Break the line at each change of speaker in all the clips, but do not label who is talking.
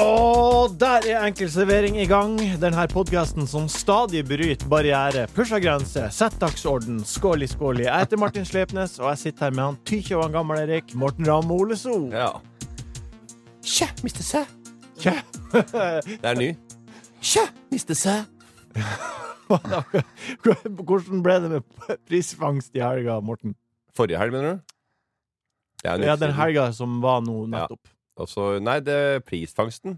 Og der er Enkel servering i gang. Denne podkasten som stadig bryter barriere, pusher grenser, setter dagsorden. Skål i skål i. Jeg heter Martin Slepnes, og jeg sitter her med han Tykje og han gamle Erik Morten Ramm Oleso.
Ja. Kjø, miste sæ.
Kjø.
Det er ny. Kjø, miste sæ.
Hvordan ble det med prisfangst i helga, Morten?
Forrige helg, mener du? Det er en
Ja,
uke
den
siden.
helga som var nå nettopp.
Altså, nei, det er prisfangsten.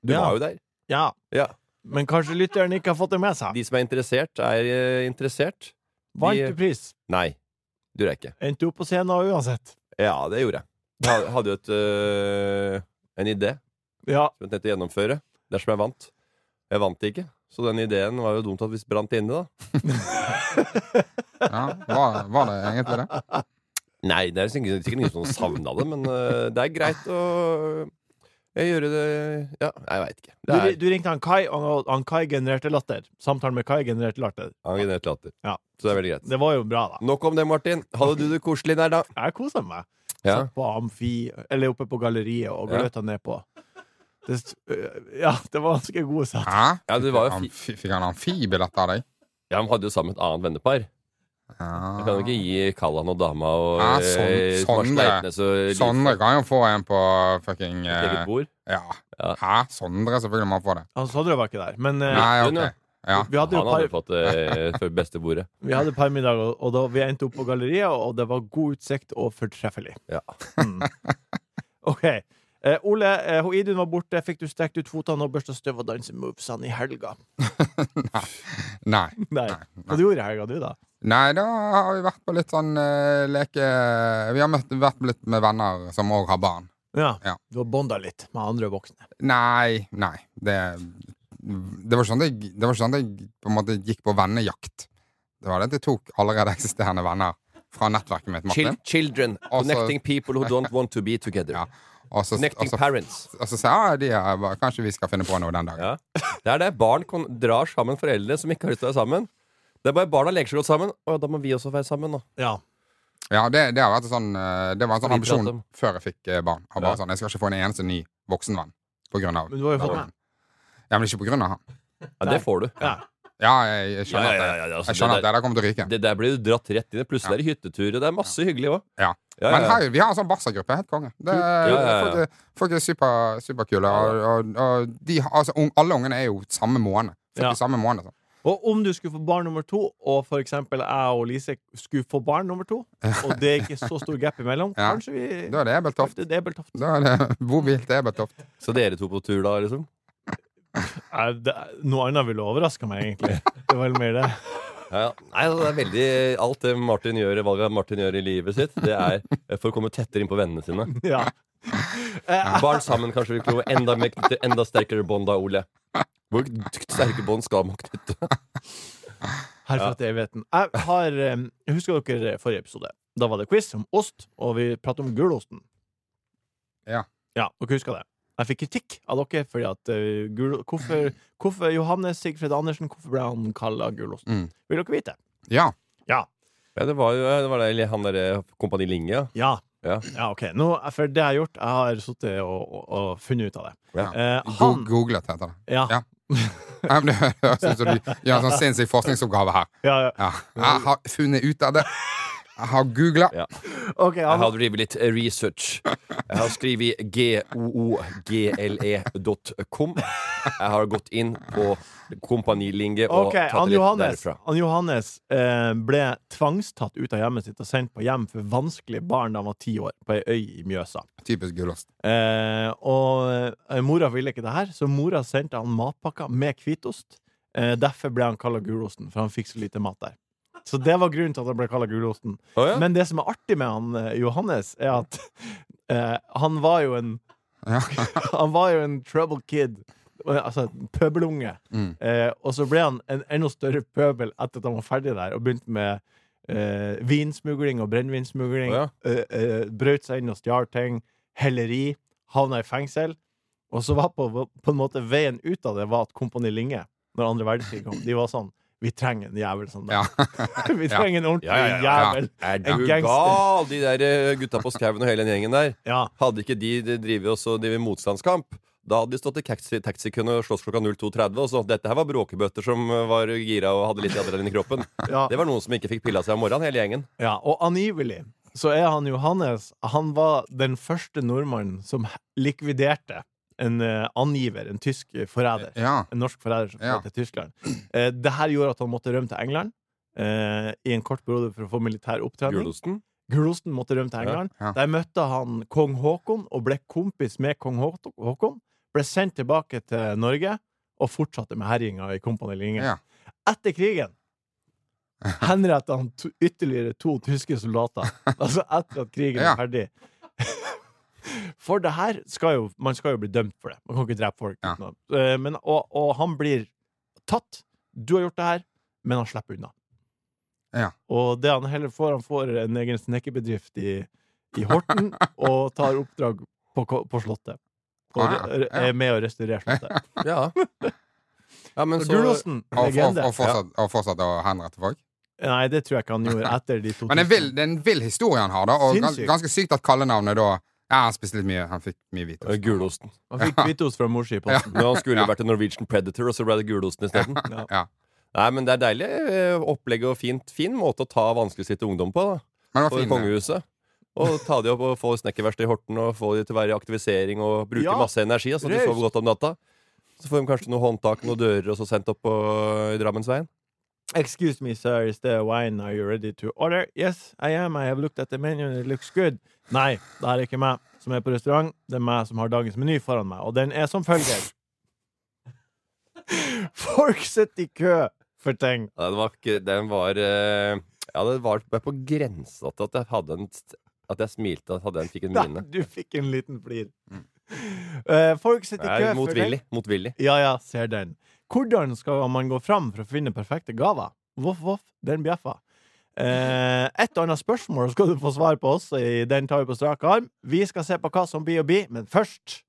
Du
Ja.
var jo der.
Ja.
Ja.
Men kanskje lytteren ikke har fått det med seg.
De som er interessert, er eh, interessert.
Vant du pris?
Nei, du rekker.
Endte opp på scenen uansett.
Ja, det gjorde jeg. Jeg had- hadde jo et, eh, en idé
Ja.
som jeg tenkte å gjennomføre dersom jeg vant. Jeg vant ikke, så den ideen var jo dumt at vi brant inne, da.
Ja, var, var det egentlig det?
Nei, det er sikkert sikkert ingen som savna det, men eh, det er greit å jeg gjør det Ja, jeg veit ikke.
Du,
Det er,
du ringte han Kai, og han Kai genererte latter. Samtalen med Kai genererte latter.
han har generert latter.
Ja.
Så det er veldig greit.
Det var jo bra, da.
Nok om det, Martin. Hadde du det koselig der, da?
Jeg kosa meg. Satt på amfi, eller oppe på galleriet og
Ja.
gløtta nedpå. Det, st- øh, ja, det var ganske gode saker.
Hæ?
Ja, det var jo fi-
Amfi- Fikk han amfibillett av deg?
Ja, men hadde jo sammen med et annet vennepar. Jeg kan jo
Ja.
ikke gi Kallan og dama og
Ja, sånn-
eh, Morten
sånn det.
Eitnes og Lise
Sondre kan jo få en på fucking
et
eh,
eget bord.
Ja.
Ja.
Hæ? Sondre selvfølgelig må han få det.
Han Sondre var ikke der, men eh,
Nei,
hun,
ok.
ja.
Ja.
vi hadde jo
Han hadde
par,
fått eh, for beste bordet.
vi hadde par middager, og da vi endte opp på galleriet, og det var god utsikt og fortreffelig.
Ja.
Mm. OK. Eh, Ole, eh, hun Idun var borte. Fikk du strekt ut fotene og børsta støv og dansemovesene i helga?
Nei.
Nei.
nei.
Hva du gjorde i helga, du, da?
Nei, da har vi vært på litt sånn eh, leke... Vi har møtt, vært litt med venner som òg har barn.
Ja.
Ja.
Du har bonda litt med andre voksne.
Nei, nei. Det, det var ikke sånn at jeg, det var ikke sånn at jeg på en måte gikk på vennejakt. Det var det at jeg tok allerede eksisterende venner fra nettverket mitt, Martin.
Chil children
Altså-
connecting people who don't want to be together.
Ja. altså- Og så, og
Connecting
så,
parents.
og så sa jeg "Ah, de er, bare, kanskje vi skal finne på noe den dagen.
Ja. Det er det. Barn kon drar sammen foreldre som ikke har lyst til å være sammen. Det er bare barna leker så godt sammen. Å ja, da må vi også være sammen, da.
Ja.
Ja, det, det, har vært en sånn, eh, det var en sånn
Vi prater
ambisjon
om-
før jeg fikk eh, barn. Jeg, bare
Ja.
sånn, jeg skal ikke få en eneste ny voksenvenn på grunn av
Men du har jo fått
barn. Ja, men ikke på grunn av han.
Ja, det får du.
Ja.
Ja, jeg, jeg skjønner at det-
ja, altså,
jeg skjønner
det
at det der kommer til å ryke.
der- det der blir du dratt rett inn i. Plutselig
Ja.
er det hytteturer. Det er masse hyggelig òg.
Ja. Men her, vi har en sånn Barca-gruppe. Helt konge. Det,
Ja, ja, ja.
Folk, er, folk er super, superkule. Og, og, og de, har- altså, un, alle ungene er jo samme måned. Født
Ja.
i samme måned. Sånn.
Og om du skulle få barn nummer to, og for eksempel jeg og Lise skulle få barn nummer to, og det er ikke så stor gap imellom,
Ja.
kanskje vi
Da er det Ebeltoft.
Det er Beltoft.
Da er det bobilt Ebeltoft.
Så dere to på tur, da, liksom?
Eh, det er- Noe annet ville overraska meg, egentlig. Det er vel mer det.
Ja, ja. Nei, altså, det er veldig Alt det Martin gjør, valget Martin gjør i livet sitt, det er for å komme tettere inn på vennene sine.
Ja.
Barn sammen kanskje vil kunne enda, mer knytte enda sterkere bånd da, Ole. Hvor sterke bånd skal man knytte?
Herfra til evigheten. Jeg har eh, Husker dere forrige episode? Da var det quiz om ost, og vi pratet om gulosten.
Ja.
Ja, Dere husker det? Jeg fikk kritikk av dere fordi at eh, gul, hvorfor, hvorfor Johannes Sigfred Andersen Hvorfor ble han kalla gulosten?
Mm.
Vil dere vite?
Ja.
Ja, det var jo det var det, han derre Kompani Linge. ja.
Ja.
Ja.
ok. Nå, for det jeg har gjort, jeg har sittet og, og, og funnet ut av det.
Ja.
Eh,
Go
han
Googlet, heter det.
ja,
Ja. Ja, men Det høres ut som du gjør en sånn sinnssyk forskningsoppgave her.
ja, ja.
Ja. Jeg har funnet ut av det. Jeg har googla.
Ok,
Jeg
han,
har drevet litt eh, research. Jeg har skrevet google.com. e Jeg har gått inn på Kompani Linge og
ok,
tatt
han
litt
Johannes,
derfra.
han Johannes eh, ble tvangstatt ut av hjemmet sitt og sendt på hjem for vanskelige barn da han var ti år, på ei øy i Mjøsa.
Typisk gulost.
Eh, og eh, mora ville ikke det her, så mora sendte han matpakker med hvitost. Eh, derfor ble han kalla Gulosten, for han fikk så lite mat der. Så det var grunnen til at han ble kalla Gulosten.
Å, ja.
Men det som er artig med han eh, Johannes, er at eh, han var jo en
Ja.
Han var jo en trouble kid. altså, pøbelunge.
Mm.
Eh, og så ble han en enda større pøbel etter at han var ferdig der, og begynte med eh, vinsmugling og brennevinsmugling.
Å,
eh, eh, brøt seg inn og stjal ting. Helleri. Havna i fengsel. Og så var på, på en måte veien ut av det var at Kompani Linge, når andre verdenskrig kom, de var sånn Vi trenger en jævel som deg.
Ja.
Vi trenger en ordentlig
Ja, ja, ja, ja.
jævel.
Er
En
du
gangster.
gal, de der eh, gutta på skauen og hele den gjengen der?
Ja.
Hadde ikke de de drevet oss og drevet motstandskamp, da hadde de stått i taxi- taxikøen og slåss klokka 02.30 og sagt dette her var bråkebøtter som eh, var gira og hadde litt adrenalin i kroppen.
ja.
Det var noen som ikke fikk pilla seg om morgenen, hele gjengen.
Ja, og angivelig så er han Johannes Han var den første nordmannen som likviderte en eh, angiver, en tysk forræder.
Ja.
En norsk forræder som
Ja.
fløy til Tyskland. Eh, det her gjorde at han måtte rømme til England eh, i en kort periode for å få militær opptrening.
Gulosten.
Gulosten måtte rømme til
Ja,
England.
ja.
Der møtte han kong Haakon og ble kompis med kong Haak- Haakon. Ble sendt tilbake til Norge og fortsatte med herjinga i Kompani Linge.
Ja.
Etter krigen henrettet han to, ytterligere to tyske soldater. Altså etter at krigen
Ja.
er ferdig. For det her skal jo Man skal jo bli dømt for det. Man kan ikke drepe folk.
Ja.
uten å- Eh, Men, og, og han blir tatt. Du har gjort det her, men han slipper unna.
Ja.
Og det han heller får, han får en egen snekkerbedrift i, i Horten og tar oppdrag på, ko- på Slottet. Og
Ah,
re-
ja.
er med å restaurere Slottet.
Ja. ja, men så
Gulosen,
Og, og,
legende.
og fortsatt, og fortsatt å henrette folk.
Nei, det tror jeg ikke han gjorde etter de to
Men det er en vill- det er en vill historie han har, da. Og gans,
Sinnssykt.
ganske sykt at kallenavnet da Ja, han spiste litt mye. Han fikk mye
Eh,
hvitost.
Gulosten.
Han fikk hvitost fra morsi i posten.
Men han skulle jo vært en Norwegian Predator, og så ble det gulosten isteden.
Ja.
Ja.
Nei, men det er deilig eh, opplegg og fint. Fin måte å ta vanskeligstilte ungdom på, da.
Men det
på
var fint. det.
kongehuset. Og ta de opp og få snekkerverksted i Horten og få de til å være i aktivisering og bruke
Ja,
masse energi. Altså, at de
raust.
sover godt om natta. Så får de kanskje noen håndtak, noen dører, og så sendt opp på, i Drammensveien.
Excuse me, sir, is there wine? Are you ready to order? Yes, I am. I have looked at the menu and it looks good. Nei, det er ikke meg som er på restaurant. Det er meg som har dagens meny foran meg, og den er som følger. Folk sitter i kø for ting.
Ja, Den var, ikke- den var eh, Ja, det var bare på grensa til at jeg hadde en At jeg smilte og hadde en, fikk en
Der,
mine.
du fikk en liten flir. Eh, folk sitter i kø
Nei,
for ting.
Motvillig. Motvillig.
Ja, ja, ser den. Hvordan skal man gå fram for å finne perfekte gaver? Voff, voff, den bjeffa. Eh, et og annet spørsmål skal du få svar på også i Den tar vi på strak arm. Vi skal se på hva som blir å bli, men først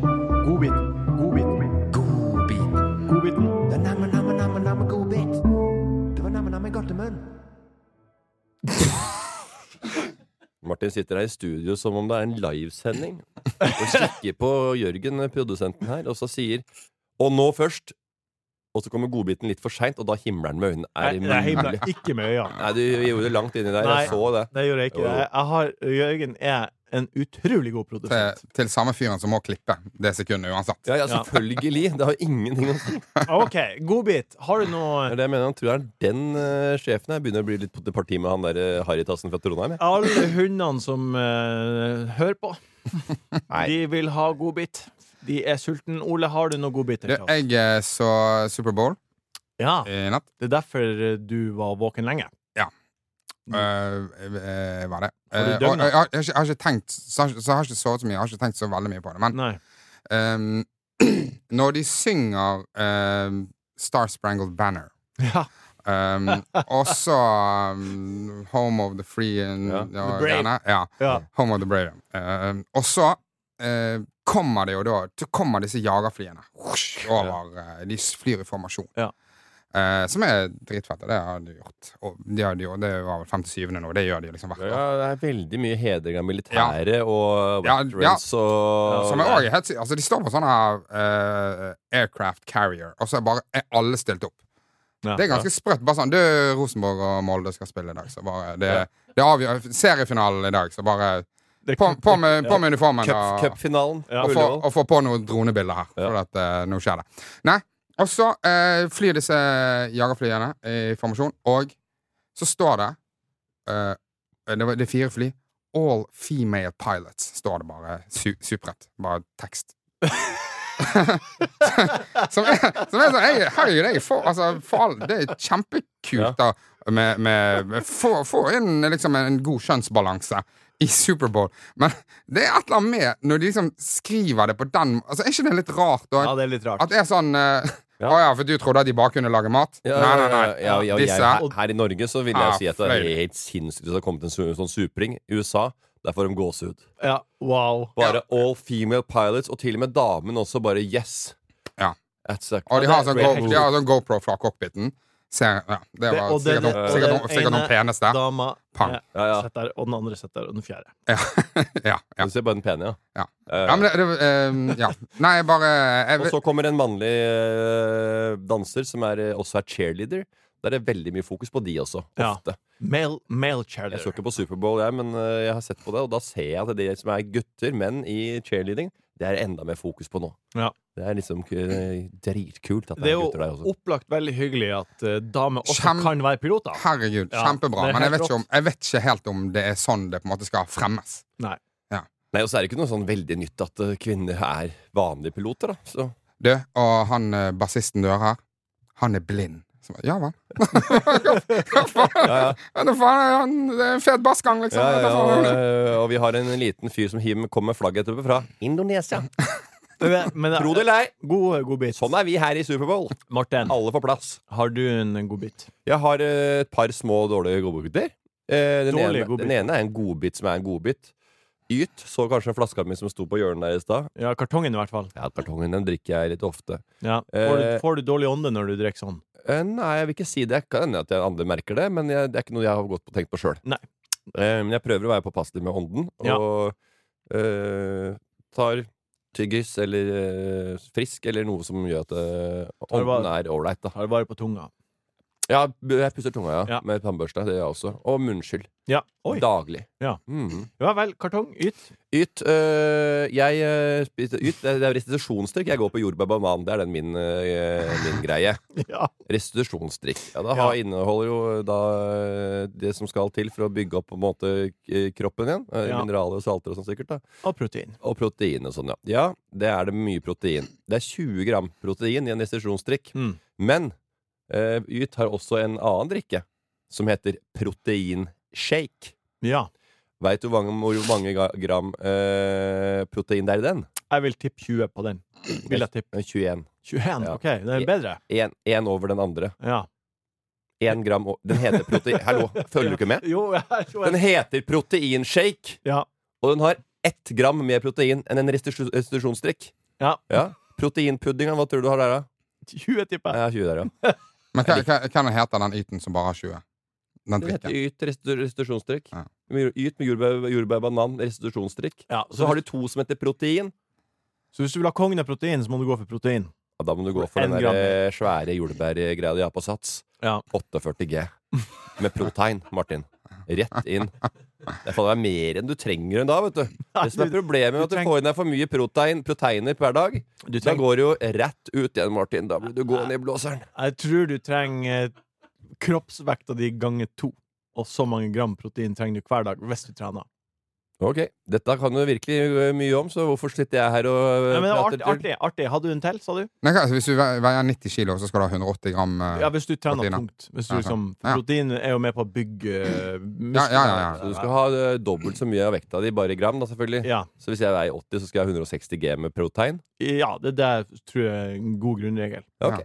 Godbit. Godbit.
Godbit.
Godbiten.
Det er namme, namme, namme, namme godbit. Det var namme, namme godtemunn.
Martin sitter her i studio som om det er en livesending og kikker på Jørgen, produsenten her, og så sier Og nå først! Og så kommer godbiten litt for seint, og da himler han med øynene.
Nei,
Er det
jeg
mulig?
himla ikke med øynene.
Nei, du gjorde det langt inni der.
Nei.
Jeg så det.
Det gjorde jeg ikke.
Jo, jo.
Jeg, jeg har, Jørgen er en utrolig god produsent.
Til, til samme fyren som må klippe det sekundet uansett.
Ja, ja, selvfølgelig. Det har ingenting å si.
OK, godbit. Har du noe
Det er det jeg mener. Han tror jeg er den eh, sjefen her. Begynner å bli litt på parti med han der eh, Haritassen fra Trondheim. jeg.
Alle hundene som eh, hører på, de vil ha godbit. De er sultne. Ole, har du noe godbit?
Du,
til oss?
jeg eh, så Superbowl
Ja,
i natt.
det er derfor eh, du var våken lenge.
Eh, eh, var
Mm. Har
det.
du
Eh,
døgn,
og,
da?
jeg, har- jeg, har ikke- jeg har ikke tenkt så, har ikke- så har jeg ikke sovet så mye. Jeg har ikke tenkt så veldig mye på det. Men
Nei.
ehm, når de synger ehm, Star Sprangled Banner
Ja,
ehm, Også ehm, Home of the Free and,
Ja.
og
The Brave.
greiene. Ja.
ja.
Home of the Brave. Ehm, og så eh, kommer det jo da Så kommer disse jagerflyene whoosh, over. eh, de flyr i formasjon.
Ja.
Eh, som er dritfett. og Det har de gjort. Og de har de, jo- det var vel 57. nå. Det gjør de liksom hvert år.
Ja, det er veldig mye hedring av militære og
Ja,
veterans og
Som er også helt sykt. Altså, de står på sånne eh, aircraft carrier, og så er bare er alle stilt opp.
Ja.
Det er ganske sprøtt. Bare sånn Du, Rosenborg og Molde skal spille i dag, så bare Det,
Ja.
det er avgjør, seriefinalen i dag, så bare
Det er
På,
kult.
på, med, på med uniformen
Cup-
og,
Cupfinalen.
Ja.
på
og, få,
Ullevål.
og få på noen dronebilder her, for at eh, nå skjer det. Nei. Og så eh, flyr disse jagerflyene i formasjon, og så står det eh, det, var, det er fire fly. All female pilots, står det bare. Su, superrett. Bare tekst. som er, som er sånn jeg, Herregud, jeg får, altså, for all, det er kjempekult da med, med, med få, få inn liksom en god kjønnsbalanse i Superbowl. Men det er et eller annet med når de liksom skriver det på den Altså, Er ikke det litt rart, da?
Ja, det er litt
At
rart.
det er sånn eh, Å
Ja.
ja. for du trodde at de bare kunne lage mat?
Ja,
nei, nei, nei.
ja, ja, ja, jeg,
Disse
her, her i Norge så vil jeg
Ja,
si at det er
fløy.
helt sinnssykt hvis det har kommet en su- sånn supring. I USA, der får de gåsehud.
Ja, wow.
Bare all female pilots, og til og med damene også bare yes.
Ja.
That's a-
Og de har
Ja,
sånn,
det er
go,
great.
de har sånn GoPro fra cockpiten. Se, ja, det
Det-
var
og det-
sikkert, noen,
og
sikkert,
den
noen, sikkert
ene
noen peneste.
Dama
Pang.
ja,
Ja, ja.
satt der, og den andre satt der, og den fjerde.
Ja, ja.
Du ser bare den pene,
Ja.
Eh,
ja, men det, det eh, Ja. Nei, jeg bare jeg,
og så kommer en mannlig eh, danser som er, eh, også er cheerleader. Der er det veldig mye fokus på de også.
Ja.
Ofte.
Male, male
Jeg så
cheerleader.
ikke på Superbowl, jeg, men eh, jeg har sett på det, og da ser jeg at de som er gutter, menn i cheerleading, det er enda mer fokus på nå.
Ja.
Det er liksom eh, dritkult at
Det
det
er
er
jo
gutter der også.
opplagt veldig hyggelig at eh, damer også
Kjem-
kan være piloter.
Herregud,
Ja,
kjempebra.
det er
Men jeg
helt
vet, ikke om, jeg vet ikke helt om det er sånn det på en måte skal fremmes.
Nei.
Nei, Og så er det ikke noe sånn veldig nytt at eh, kvinner er vanlige piloter, da. Så
Du, og han eh, bassisten du har her, han er blind. Så, jeg, ja vel? Hva faen?
ja, ja.
Hva faen er han? Det er en fet bassgang, liksom.
Ja, ja, ja,
Hva
og,
faen?
eh, og vi har en liten fyr som hiver kommer med flagget etterpå fra Indonesia.
Men- men-
Tro det eller ei,
God, eh, god bit.
sånn er vi her i Superbowl.
Martin,
Alle får plass.
har du en eh, god bit?
Jeg har eh, et par små dårlige godbiter. Eh, Den,
Dårlige
ene-
godbiter.
den ene er en godbit som er en godbit. Yt så kanskje flaska mi som sto på hjørnet der i stad.
Ja, kartongen i hvert fall.
Ja, kartongen den drikker jeg litt ofte.
Ja. Får, du,
Eh,
får du dårlig ånde når du drikker sånn?
Eh, Nei, jeg vil ikke si det. Kan hende at jeg- andre merker det, men jeg, det er ikke noe jeg har gått på tenkt på sjøl.
Nei.
Men jeg prøver å være påpasselig med ånden,
Ja.
og eh, tar tyggis eller eh, frisk eller noe som gjør at eh,
Tar det
ånden
bare-
er ålreit, da.
Har det bare på tunga?
Ja, b- jeg pusser tunga, ja.
Ja.
Med tannbørste. Det gjør jeg også. Og munnskyld.
Ja. Oi.
Daglig.
Ja.
Mhm.
Ja vel. Kartong. Yt.
Yt, øh, jeg, øh, spiser- yt, det er restitusjonsdrikk. Jeg går på jordbær og banan. Det er den min, øh, min greie.
Ja.
Restitusjonsdrikk. Ja, det har,
Ja.
inneholder jo da øh, det som skal til for å bygge opp på en måte k- kroppen igjen. Øh,
Ja.
Mineraler og salter og sånn sikkert. da
Og protein.
Og protein og sånn, ja. Ja, det er det mye protein. Det er 20 gram protein i en restitusjonsdrikk.
Mm.
Men øh, Yt har også en annen drikke som heter proteinshake.
Ja.
Veit du hvor mange, hvor mange ga- gram øh, protein det er i den?
Jeg vil tippe 20 på den. Vil jeg tippe.
Eh, 21.
21?
Ja.
OK, det er bedre.
En, en over den andre.
Ja.
En gram over Den heter protein... Hallo, følger du ikke med?
Jo, jeg
Den heter proteinshake,
Ja.
og den har ett gram mer protein enn en restitu- restitusjonsdrikk.
ja.
Ja. Proteinpuddinga, hva tror du har der, da?
20 tipper jeg.
Ja, 20 der, ja.
Men hva, hva, hva den heter den yten som bare har 20? Den
Den heter
drikken.
Yt restitu- restitusjonsdrikk.
Ja.
Med jord- Yt med jordbær, jordbær banan restitusjonsdrikk.
Ja,
Og Så har du to som heter protein.
Så hvis du vil ha kongen av protein, så må du gå for protein.
Ja, da må du gå for
En
den
gram.
der, eh, svære jordbærgreia de har på Sats.
Ja.
48 G. Med protein, Martin. Rett inn. Det er faen meg mer enn du trenger enn da, vet du. Det som er problemet med at du får i deg for mye protein, proteiner hver dag,
Du
da
trenger,
går det jo rett ut igjen, Martin. Da blir du gående i blåseren.
jeg tror du trenger eh, kroppsvekta di ganger to. Og så mange gram protein trenger du hver dag hvis du trener.
Ok, Dette kan du virkelig eh, mye om, så hvorfor sitter jeg her og eh,
Nei, men det var
prater
artig,
tull?
artig, artig. Hadde du en til, sa du?
Nei, hva, altså, hvis du ve- veier 90 kilo, så skal du ha 180 gram eh,
Ja, hvis du trener
protein, ja.
tungt. Hvis du,
Ja,
liksom,
ja.
protein er jo med på å bygge eh, muskler.
Ja, ja, ja, ja.
Så du skal ha eh, dobbelt så mye av vekta di, bare i gram, da, selvfølgelig.
Ja.
Så hvis jeg veier 80, så skal jeg ha 160 G med protein?
Ja, det der tror jeg er en god grunnregel.
Ja, ok.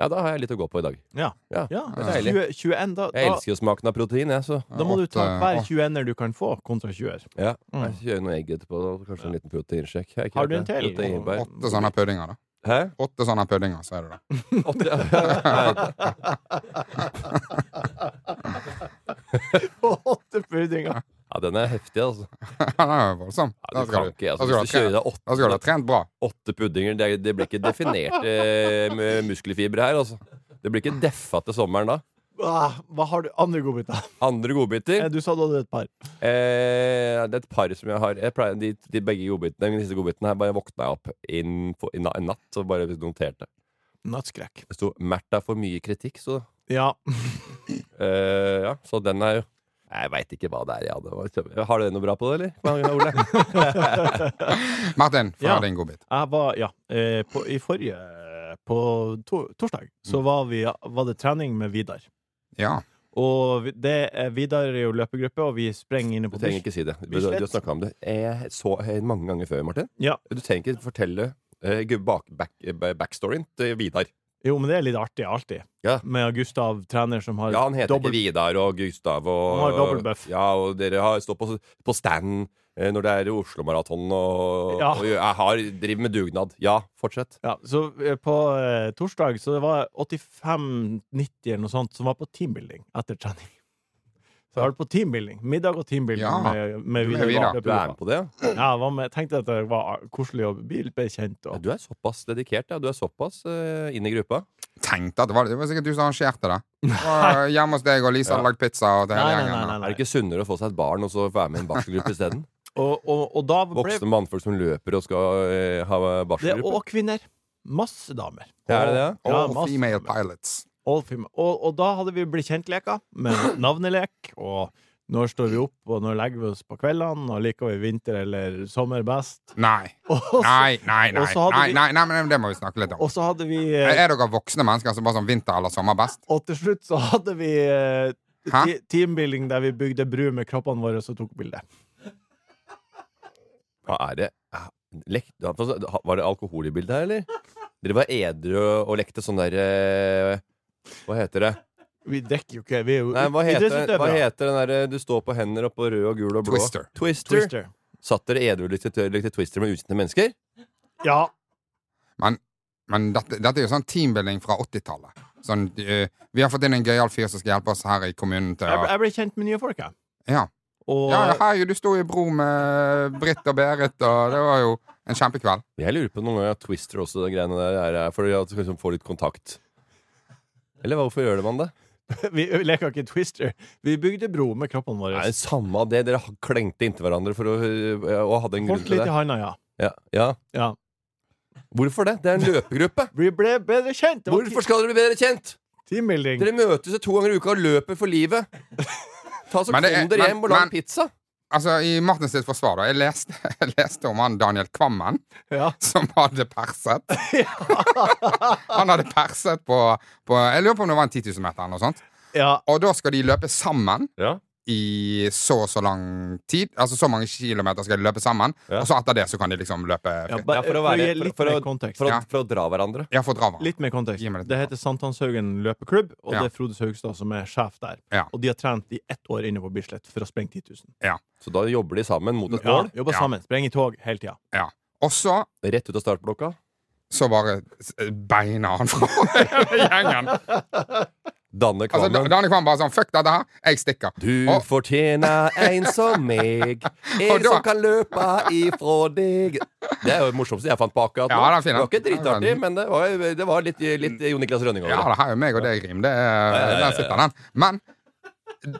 ja, da har jeg litt å gå på i dag.
Ja.
Ja,
Ja,
det er deilig.
20, 21, da,
Jeg
da,
elsker jo smaken av protein, jeg, så
da må du ta
Åtte-
hver 21-er du kan få, kontra 20-er.
ja.
Mm.
Jeg kjører noe egg etterpå, og kanskje en liten proteinsjekk. Jeg er ikke
Har du
helt
en til?
proteinbar.
Åtte sånne puddinger, da.
Hæ?
Åtte sånne puddinger, så er det da.
Åtte, ja. Nei,
På åtte puddinger!
ja, den er heftig, altså.
Den er jo voldsom.
Ja,
Da
du
skal
kan
du,
ikke,
da
altså
skal du, ha
Hvis du kjører deg
trent- da skal du ha
åtte,
trent bra.
åtte puddinger, det, det blir ikke definerte eh, muskelfibre her, altså. Det blir ikke deffa til sommeren da.
Ah, hva har du andre godbiter?
Andre godbiter
Eh, Du sa du hadde et par.
eh, Det er et par som jeg har. Jeg pleier, de, de begge godbitene, de siste godbitene her, bare våkna jeg opp inn på, i na- en natt og bare noterte.
Nattskrekk.
Det sto 'Märtha får mye kritikk', så
Ja.
Eh, ja, så den er jo Jeg veit ikke hva det er. Ja, det var kjempe- Har du noe bra på det, eller? Ole?
Martin, få
Ja.
din godbit.
Jeg var Ja. Eh, på, I forrige
Mm.
På to, torsdag så var, vi, var det trening med Vidar.
Ja.
Og vi- det er Vidar er jo løpegruppe, og vi sprenger inne
Du
på
trenger
bush.
ikke si det. Du,
Vi
du
slett-
har snakka om det eh, så eh, mange ganger før, Martin.
Ja.
Du trenger ikke fortelle eh, gu- bak, back, eh, backstoryen til Vidar.
Jo, men det er litt artig alltid.
Ja.
Med Gustav, trener som har
Ja, han heter
dobbelt-
ikke Vidar og Gustav og
Han har dobbeltbøff.
Ja, og dere har står på, på stand eh, når det er Oslo-maraton og,
Ja.
og jeg har, driver med dugnad. Ja, fortsett.
Ja, så eh, på eh, torsdag så det var 85-90 eller noe sånt som var på teambuilding etter trening. Så jeg var på teambuilding. Middag og teambuilding
Ja.
med, med
Du er
Vidar.
Vidar.
Du er med på det? ja?
Ja, jeg var med, tenkte at det var koselig å bli litt bekjent.
Ja,
Og.
Du er såpass dedikert, ja. Du er såpass eh, inn i gruppa.
Tenkte at det var det. Det var sikkert du som arrangerte det. Og eh, Hjemme hos deg og Lisa hadde lagd pizza. Og det
Nei,
hele
nei, nei,
gjengen.
nei,
Er
nei.
det ikke sunnere å få seg et barn og så være med i en barselgruppe isteden?
Og, og, og da ble
Voksne mannfolk som løper og skal eh, ha
det
barselgruppe.
Og kvinner. Masse damer.
Ja, er det det, ja?
Ja,
Og
masse
female
damer.
pilots.
All female. Og, og da hadde vi blitt kjent-leker med navnelek og når står vi opp, og når legger vi oss på kveldene, og liker vi vinter eller sommer best.
Nei.
Og så,
Nei, nei, nei.
og så hadde
Nei,
vi-
nei, nei, men det må vi snakke litt om.
og så hadde vi eh,
Er dere voksne mennesker som bare sånn vinter eller sommer best?
Og til slutt så hadde vi eh,
Hæ?
ti- teambuilding der vi bygde bru med kroppene våre og tok bilde.
Hva er det? Ah, Lek, var det alkohol i bildet her, eller? Dere var edru og lekte sånn der eh, Hva heter det?
Vi drikker jo ikke. Vi er jo
Nei, hva heter,
idrettsutøvere.
hva heter den derre du står på hender oppå rød og gul og blå?
Twister.
Twister.
Twister.
Satt dere edru og likte, likte Twister med ukjente mennesker?
Ja.
Men dette, dette er jo sånn teambuilding fra 80-tallet. Sånn, eh, vi har fått inn en gøyal fyr som skal hjelpe oss her i kommunen til
Jeg,
å
ble- jeg ble kjent med nye folk, jeg.
ja.
Og,
ja, hei, du sto i bro med Britt og Berit, og det var jo en kjempekveld.
Jeg lurer på noen ganger at Twister også de greiene der er er for at du liksom får litt kontakt. Eller hvorfor gjør man det?
Vi leker ikke Twister. Vi bygde bro med kroppene våre.
Nei, samme av det. Dere klengte inntil hverandre for å, og hadde en grunn
Holdt
til
litt i
det.
handa, ja.
Ja, ja.
ja.
Hvorfor det? Det er en løpegruppe.
Vi ble bedre kjent. Det var
Hvorfor skal dere bli bedre kjent?
teambuilding.
Dere møtes jo to ganger i uka og løper for livet. Ta så Kom
Men det er-
dere
men-
hjem og lag
men-
pizza.
Altså, I Martins sitt forsvar, da. Jeg leste, jeg leste om han Daniel Kvammen
Ja.
som hadde perset. han hadde perset på, på Jeg lurer på om det var en 10 000 meter eller noe sånt.
Ja.
Og da skal de løpe sammen
Ja.
i så og så lang tid. Altså så mange kilometer skal de løpe sammen.
Ja.
Og så etter det så kan de liksom løpe
Ja,
fritt.
ba-
Ja, for å
for, å
være-
gi
for-
litt
for å-
mer kontekst.
For å,
Ja.
for å dra hverandre.
Ja, for drama.
Litt mer kontekst.
Gi meg litt
Det heter Sankthanshaugen løpeklubb, og
Ja.
det er Frode Haugstad som er sjef der.
Ja.
Og de har trent i ett år inne på Bislett for å sprenge 10 000.
Så da jobber de sammen mot et
Ja,
mål.
jobber
Ja.
sammen. Sprenger tog hele tida.
Ja. Og så
Rett ut av startblokka.
så bare s- beina han fra hele gjengen.
Danne
Altså,
Kvammen.
Da- Daniel Kvam bare sånn Fuck dette her, jeg stikker.
Du
Og-
fortjener en som meg,
Og
en
da-
som kan løpe ifra deg. Det er jo det morsomste jeg fant på akkurat nå.
Ja, den er fin,
det
den.
var ikke dritartig, men det var, det var litt, litt Jon Niklas Rønning
Ja,
over det.
det her er jo meg og deg, Rim. Det er, der sitter den. Men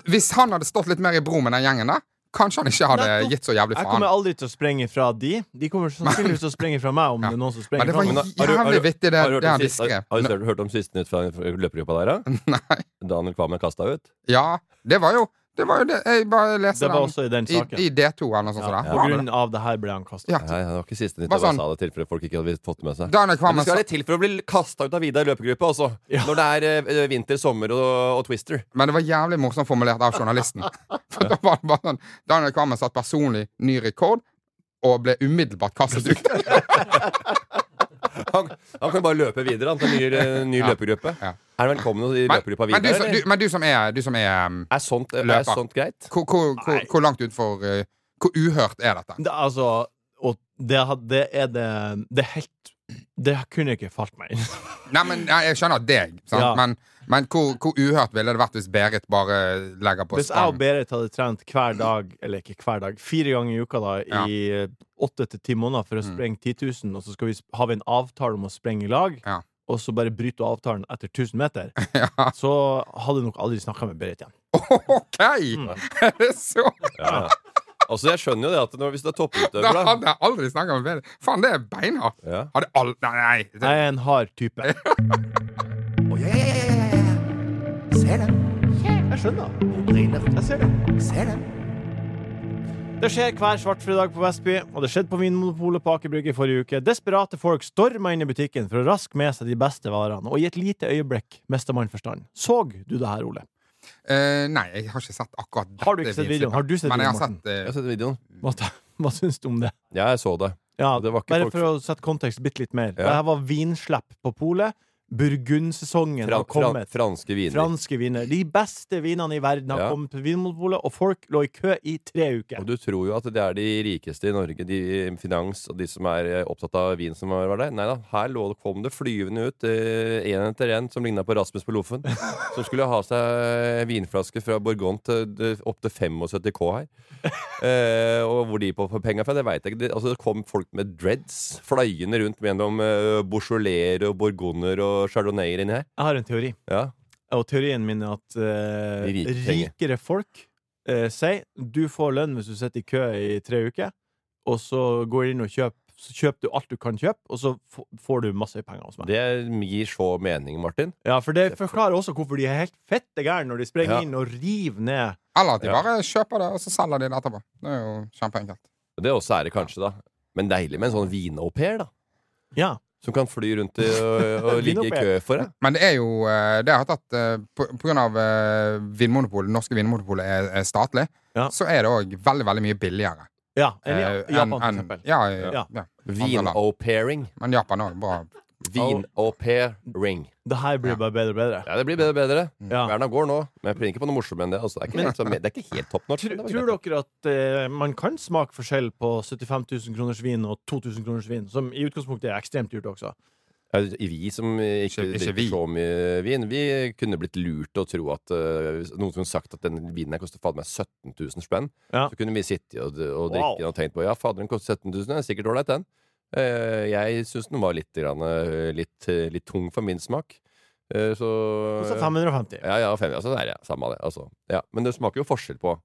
hvis han hadde stått litt mer i bro med den gjengen der, kanskje han ikke hadde
Nettopp.
gitt så jævlig
Jeg
faen.
kommer aldri til å sprenge fra de. De kommer sannsynligvis til å sprenge fra meg om
Ja.
det er noen som
Men
sprenger
det
fra
var
meg.
Men har du- har
jævlig
du-
vittig, det,
Har du hørt
det
om
han
sist- har- har
beskrev.
du hørt- hørt om siste nytt fra fra løpergruppa der, da?
Nei.
Daniel Kvammen kasta ut?
Ja, det var jo det var jo det jeg bare
Det
leste
var
den
også i den
i,
saken.
i D2 eller noe sånt.
Ja,
sånt
på
der.
grunn av det her ble han kastet.
Ja.
Nei, det var ikke siste nytt. Jeg bare
Bare sånn.
sa det til for folk ikke hadde fått det med seg.
Daniel
Men
Kvammen
det skal
sa-
litt til for å bli kasta ut av Vidar i løpegruppa også.
Ja.
Når det er eh, vinter, sommer og, og Twister.
Men det var jævlig morsomt formulert av journalisten. For da var det bare sånn Daniel Kvammen satte personlig ny rekord og ble umiddelbart kastet ut.
Han, han kan bare løpe videre han, til en ny, eh, ny
Ja.
løpegruppe.
Ja.
Er han velkommen i
Men,
løpegruppa
men, du,
videre?
som-
eller?
du, men du som er, du som er um,
Er sånt, er
Løper.
sånt greit?
hvor, hvor, hvor, hvor langt utfor uh, Hvor uhørt er dette?
Det, altså, og det, had- det er det Det er helt Det kunne ikke falt meg inn.
Nei, men nei, Jeg skjønner deg, sant?
Ja.
men, men hvor, hvor uhørt ville det vært hvis Berit bare legger på
Hvis jeg og
stang?
Berit hadde trent hver dag, eller ikke hver dag, fire ganger i uka da,
Ja.
i eh, åtte til ti måneder for å sprenge 10 000, og så skal vi, sp- har vi en avtale om å sprenge i lag,
Ja.
og så bare bryter hun avtalen etter 1000 meter,
Ja.
så hadde jeg nok aldri snakka med Berit igjen.
OK!
Mm.
Er det så
Ja. Altså, jeg skjønner jo det at når, hvis du er
Da
topputøver, da
hadde jeg aldri snakka med Berit. Faen, det er beinhardt.
Ja.
Hadde all... Nei, nei. Det...
Jeg er en hard type.
Å, ja, ja, ja, ja, ja, ja. Se dem.
Jeg skjønner.
Hun brenner.
Jeg ser det.
Se dem.
Det skjer hver svartfredag på Vestby, og det skjedde på Vinmonopolet på Aker Brygge i forrige uke. Desperate folk storma inn i butikken for å raske med seg de beste varene, og i et lite øyeblikk mista man forstanden. Såg du det her, Ole?
Eh, nei, jeg har ikke sett akkurat dette.
Har du ikke sett videoen? Har du sett
Men jeg har
videoen,
sett eh,
Jeg har sett videoen.
Hva, ta- hva syns du om det?
Ja, jeg så det.
Ja,
Det var ikke
bare
folk-
for å sette kontekst bitte litt mer.
Ja.
Det her var vinslepp på polet. Burgundsesongen
Fra,
har
fra,
kommet.
franske viner.
Franske viner. De beste vinene i verden har
Ja.
kommet på Vinmonopolet, og folk lå i kø i tre uker.
Og du tror jo at det er de rikeste i Norge, de finans og de som er eh, opptatt av vin som var der. Nei da, her lå, kom det flyvende ut én etter én som ligna på Rasmus på Loffen. Som skulle ha seg vinflaske fra Bourgogne til, opp til 75 K her. Eh, og hvor de på penga fra, det veit jeg ikke. Det, altså, det kom folk med dreads flyende rundt gjennom eh, Beaujolais og Bourgogner og Chardonnayer inni her.
Jeg har en teori,
Ja.
og teorien min er at eh,
De rike trenger.
rikere folk eh, sier du får lønn hvis du sitter i kø i tre uker, og så går du inn og kjøper. Så kjøper du alt du kan kjøpe, og så f- får du masse penger hos meg.
Det gir så mening, Martin.
Ja, for Det forklarer også hvorfor de er helt fette gærne når de sprenger
Ja.
inn og river ned
Eller at de
Ja.
bare kjøper det, og så selger de det etterpå. Det er jo kjempeenkelt.
Og Det også er det kanskje, da. Men deilig med en sånn vinau pair, da.
Ja,
Som kan fly rundt i, og, og ligge i
Vinopé.
kø for deg.
Men det er jo eh, Det har tatt eh, På, på grunn av eh, vinmonopolet, det norske vinmonopolet er, er statlig,
Ja.
så er det òg veldig, veldig mye billigere.
ja enn i
eh,
Japan,
enn-
for
enn-
eksempel.
ja, ja,
Ja.
ja. Andre land.
Vinau pairing.
Men Japan òg, bra.
Vinau pairing.
Det her blir bare bedre og bedre.
Ja, det blir bedre og bedre.
Ja.
Verna går nå. Men jeg prøver ikke på noe morsommere enn det. Altså. Det, er ikke, helt- så- det er ikke helt topp norsk.
Tror, tror dere at eh, man kan smake forskjell på 75 000 kroners vin og 2000 kroners vin, som i utgangspunktet er ekstremt dyrt også?
Vi som ikke,
Ikke- ikke
drikker
vi.
så mye vin, vi kunne blitt lurt til å tro at eh, hvis noen som hadde sagt at den vinen her koster fader meg 17 000 spenn.
Ja.
Så kunne vi sitte og, og drikke
Wow.
den og tenkt på ja, fader, den koster 17 000. Den er sikkert ålreit, den. Eh, jeg syns den var litt, grann, eh, litt, eh, litt tung for min smak. Eh, så
Koster 550.
Ja, ja, fem, altså, det er ja, samme av det. Altså. Ja, men det smaker jo forskjell på,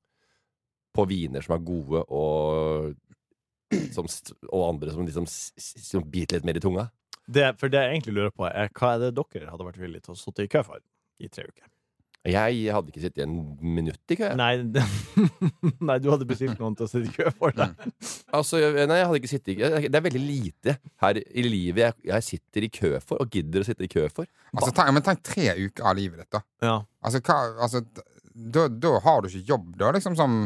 på viner som er gode, og, som, st- og andre som liksom s- s- som biter litt mer i tunga.
Det, for det jeg egentlig lurer på, er hva er det dere hadde vært villige til å sitte i kø for i tre uker?
Jeg hadde ikke sittet i en minutt i kø. jeg.
Nei, det, nei du hadde bestilt noen til å sitte i kø for deg.
Altså, jeg- nei, jeg hadde ikke sittet i kø. Det er veldig lite her i livet jeg, jeg sitter i kø for, og gidder å sitte i kø for.
Altså, tenk, men tenk tre uker av livet ditt, da.
Ja.
Altså, hva, altså d- da, da har du ikke jobb, da, liksom, som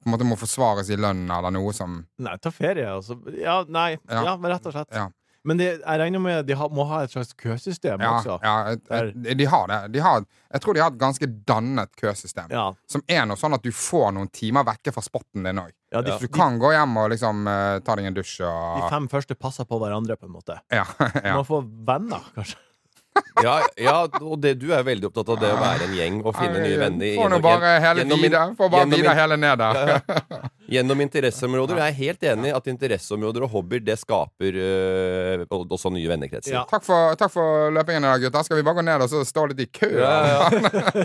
på en måte må forsvares i lønn eller noe som
Nei, ta ferie, altså. Ja, nei.
Ja.
Ja, men rett og slett.
Ja.
Men det, jeg regner med de har, må ha et slags køsystem
Ja,
også.
ja et- et- de har det. De har, jeg tror de har et ganske dannet køsystem.
Ja.
Som er noe sånn at du får noen timer vekke fra spotten din òg.
ja de,
Så du kan gå hjem og liksom eh, ta deg en dusj
de
og
fem første passer på hverandre, på en måte.
ja, ja.
Man får venner, kanskje.
Ja, ja og det, du er veldig opptatt av det å være en gjeng og finne nye venner. i-
Får nå bare hele
gjennom-
vida. Får bare
gjennom-
vida hele ned der.
Gjennom interesseområder. og Jeg er helt enig i at interesseområder og hobbyer det skaper øh, og- også nye vennekretser.
Ja.
Takk for, takk for løpingen i dag, gutter. Skal vi bare gå ned og så stå litt i kø?
Ja, ja.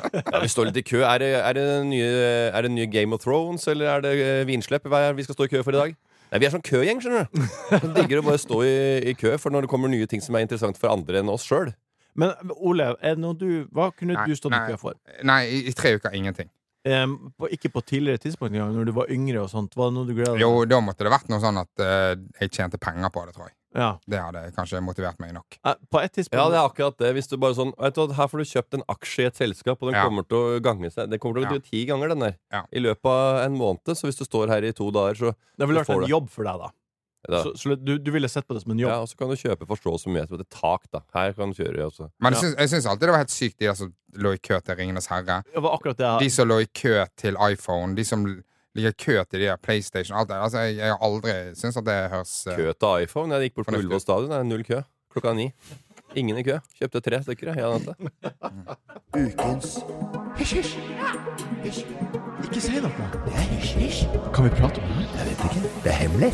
Ja, vi står litt i kø. Er det, er, det nye, er det nye Game of Thrones, eller er det øh, vinslepp? Hva er det vi skal stå i kø for i dag? Nei, Vi er sånn køgjeng, skjønner du. Som digger å bare stå i, i kø for når det kommer nye ting som er interessant for andre enn oss sjøl.
Men Ole, er det noe du, hva kunne
Nei,
du stått i
nei.
kø for?
Nei, i, i tre uker ingenting.
Em, på, ikke på tidligere tidspunkt engang, når du var yngre og sånt. Var det noe du gleda deg
Jo, da måtte det vært noe sånn at eh, jeg tjente penger på det, tror jeg.
Ja.
Det hadde kanskje motivert meg nok.
Eh, På et tidspunkt
Ja, det er akkurat det. Hvis du bare sånn vet du, hva, Her får du kjøpt en aksje i et selskap, og den
Ja.
kommer til å gange seg. Den kommer til å gå
Ja.
til ti ganger, den der.
Ja.
I løpet av en måned. Så hvis du står her i to dager, så
Det ville
Du
vært
får
en
det.
jobb for deg, da.
da,
Så, så du, du ville sett på det som en jobb.
Ja, og så kan du kjøpe forståelse med et tak, da. Her kan du kjøre, altså.
Men
Ja.
jeg syns- jeg syns alltid det var helt sykt, de der som lå i kø til Ringenes herre.
Det var akkurat det
De
jeg
som lå i kø til iPhone. De som ligger i kø til de der PlayStation. Alt det. Altså, jeg, jeg har aldri syntes at det høres eh,
Kø til iPhone. Jeg gikk bort på
Fornuftig.
Ullevål stadion, det er null kø. Klokka ni. Ingen i kø. Kjøpte tre stykker, jeg. jeg. hadde det.
Ukens
Ikke si noe!
Det er hemmelig.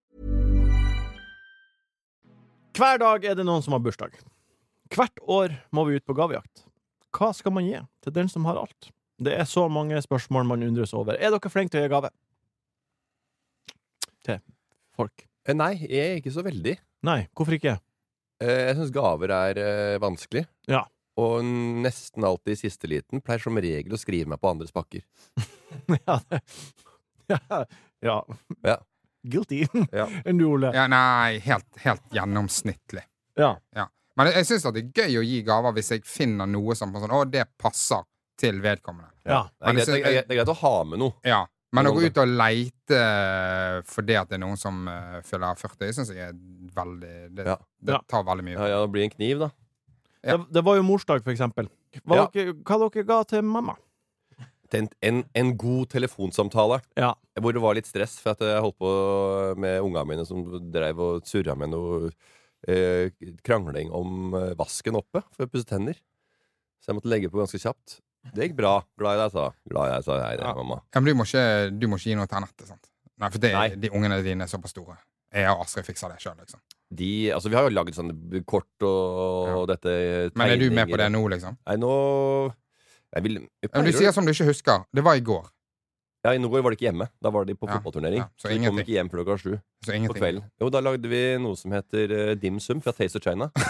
Hver dag er det noen som har bursdag. Hvert år må vi ut på gavejakt. Hva skal man gi til den som har alt? Det er så mange spørsmål man undres over. Er dere flinke til å gi gave? Til folk?
Eh, Nei, jeg er ikke så veldig.
Nei, hvorfor ikke?
Eh, Jeg syns gaver er eh, vanskelig.
Ja.
Og nesten alltid i siste liten pleier som regel å skrive meg på andres pakker.
ja, det. Ja. ja.
Ja.
Guilty.
Ja.
Enn du, Ole?
Ja, nei, helt, helt gjennomsnittlig.
Ja.
Men jeg- jeg syns det er gøy å gi gaver hvis jeg finner noe som sånn, å, det passer til vedkommende.
ja.
Det er,
Men jeg
greit, det,
synes-
er, greit- det er greit å ha med noe.
Ja. Men å gå ut og leite fordi at det er noen som eh, fyller 40, syns jeg er veldig det,
Ja.
det tar veldig mye.
Ja, ja, det blir en kniv, da.
Ja.
Det, det var jo morsdag, for eksempel. Hva,
Ja.
dere, hva dere ga til mamma?
En, en, en god telefonsamtale
Ja.
hvor det var litt stress, for at jeg holdt på med unga mine som dreiv og surra med noe eh, krangling om eh, vasken oppe for å pusse tenner. Så jeg måtte legge på ganske kjapt. Det gikk bra. Glad i deg, sa Glad i deg, sa jeg. Det,
Ja.
mamma.
Ja, men du må ikke, du må ikke gi noe til Anette, sant? Nei, for det,
Nei.
de ungene dine er såpass store. Jeg og Astrid fikser det sjøl, liksom.
De, altså, vi har jo lagd sånne kort og dette
Men er du med på
tegninger.
det nå, liksom?
Nei, nå jeg vil, jeg
Ja, men du
pleier å-
sier altså- som du ikke husker. Det var i går.
Ja, I Norway var de ikke hjemme. Da var de på
Ja,
fotballturnering.
ja, så
så de kom
ingenting.
ikke hjem før klokka sju
Så
på
ingenting.
kvelden. Jo, da lagde vi noe som heter eh, dim sum fra Taste of China.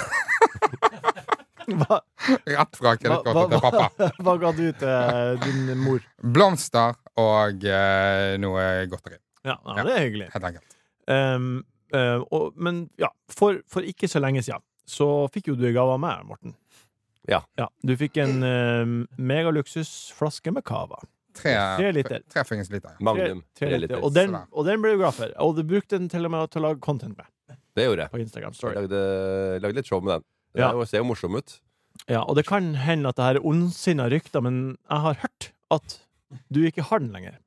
Hva,
Rett fra
hva,
kredittkortet til pappa.
hva ga du til eh, din mor?
Blomster og eh, noe godteri.
Ja, ja det er hyggelig.
Helt enkelt.
Um, eh, og, men ja, for, for ikke så lenge siden så fikk jo du i gave av meg, Morten.
Ja.
du fikk en um, megaluksusflaske med cava.
Tre,
Tre liter.
Tre fuckings liter. ja.
Tre-
Magnum.
tre
tre
liter.
liter.
Og den, og den ble du glad for. Og du brukte den til og med til å lage content med
Det gjorde jeg.
på Instagram.
Jeg
Story.
lagde, lagde litt show med den. Den
Ja.
er jo- ser jo morsom ut.
Ja, og det kan hende at det her er ondsinna rykter, men jeg har hørt at du ikke har den lenger.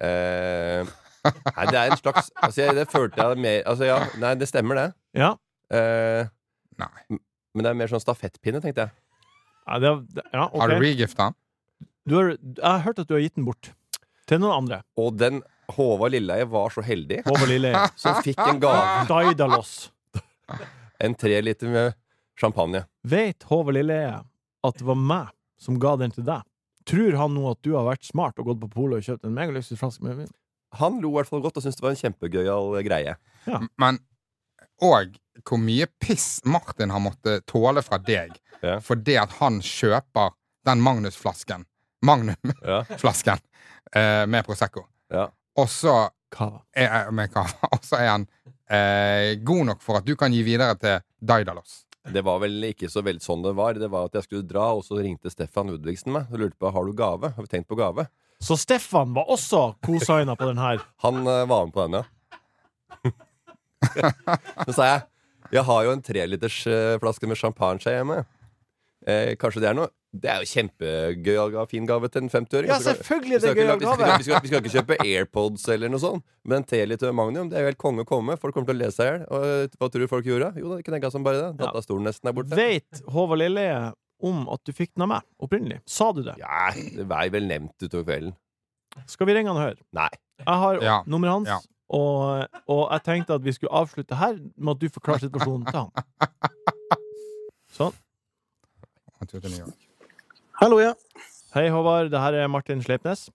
Eh, nei, det er en slags altså, jeg, Det følte jeg mer altså, ja, Nei, det stemmer, det.
Ja,
Eh,
Nei.
men det er mer sånn stafettpinne, tenkte jeg.
ja, det, det- ja ok.
Har du regifta den?
Du har, jeg har hørt at du har gitt den bort til noen andre.
Og den Håvard Lilleheie var så heldig
Håvard Lilleheie.
som fikk en gave.
Daidalos.
En treliter med champagne.
Vet Håvard Lilleheie at det var meg som ga den til deg? Tror han nå at du har vært smart og gått på polet og kjøpt en megaluksusflaske med vin?
Han lo i hvert fall godt og syntes det var en kjempegøyal greie.
Men og hvor mye piss Martin har måttet tåle fra deg
Ja.
fordi at han kjøper den Magnus-flasken Magnum-flasken
Ja,
eh, med Prosecco.
ja.
Og så
Cava.
er, eh, med kava, og så er han eh, god nok for at du kan gi videre til Daidalos.
Det var vel ikke så veldig sånn det var. Det var at jeg skulle dra, og så ringte Stefan Ludvigsen meg og lurte på har du gave. Har vi tenkt på gave.
Så Stefan var også cosigna på den her.
Han eh, var med på den, ja. Så sa jeg jeg har jo en treliters eh, flaske med champagne her hjemme. Eh, kanskje det er noe? Det er jo kjempegøy og fin gave til en 50-åring.
Ja,
Så kan-
selvfølgelig er
vi
det
skal ikke
gøy
la-
å
vi skal
gave.
ikke- Vi skal, vi skal ikke kjøpe AirPods eller noe sånt, men en treliter med Magnum det er jo helt konge å komme. Folk kommer til å lese seg i hjel. Og eh, hva tror du folk gjorde? Jo da, knekka som bare det.
Ja.
Datastolen nesten er borte.
Vet Håvard Lilleheie om at du fikk den av meg opprinnelig? Sa du det?
Ja, det var vel nevnt utover kvelden.
Skal vi ringe han og høre?
Nei.
Jeg har
Ja.
nummeret hans,
Ja.
og, og jeg tenkte at vi skulle avslutte her med at du forklarer situasjonen til han. Sånn.
Han tror til New York.
Hallo, ja.
Hei, Håvard. Det her er Martin Sleipnes.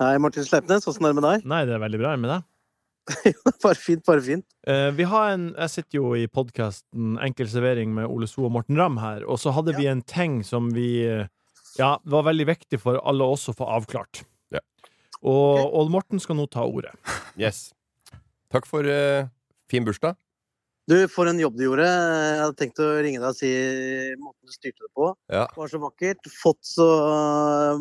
Hei, Martin Sleipnes. Åssen er det med deg?
Nei, det er veldig bra. Er det med deg?
Bare fint, bare fint.
Eh, vi har en, jeg sitter jo i podkasten Enkel servering med Ole So og Morten Ramm her, og så hadde vi en ting som vi eh, Ja, var veldig viktig for alle oss å få avklart.
Ja.
Og, og Morten skal nå ta ordet.
Yes. Takk for eh, fin bursdag.
Du, for en jobb du gjorde. Jeg hadde tenkt å ringe deg og si måten du styrte det på.
Ja.
Det var så vakkert. Fått så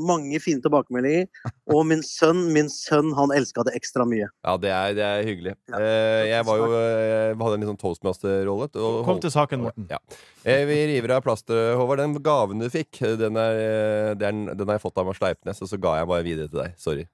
mange fine tilbakemeldinger. Og min sønn, min sønn, han elska det ekstra mye.
Ja, det er, det er hyggelig.
Ja.
Eh, jeg var jo, eh, hadde en litt sånn toastmaster-rolle. og
Kom til saken, Morten.
Ja. Eh, vi river av plasteret, Håvard. Den gaven du fikk, den, er, eh, det er den, den har jeg fått av meg Sleipnes, og så ga jeg bare videre til deg. Sorry.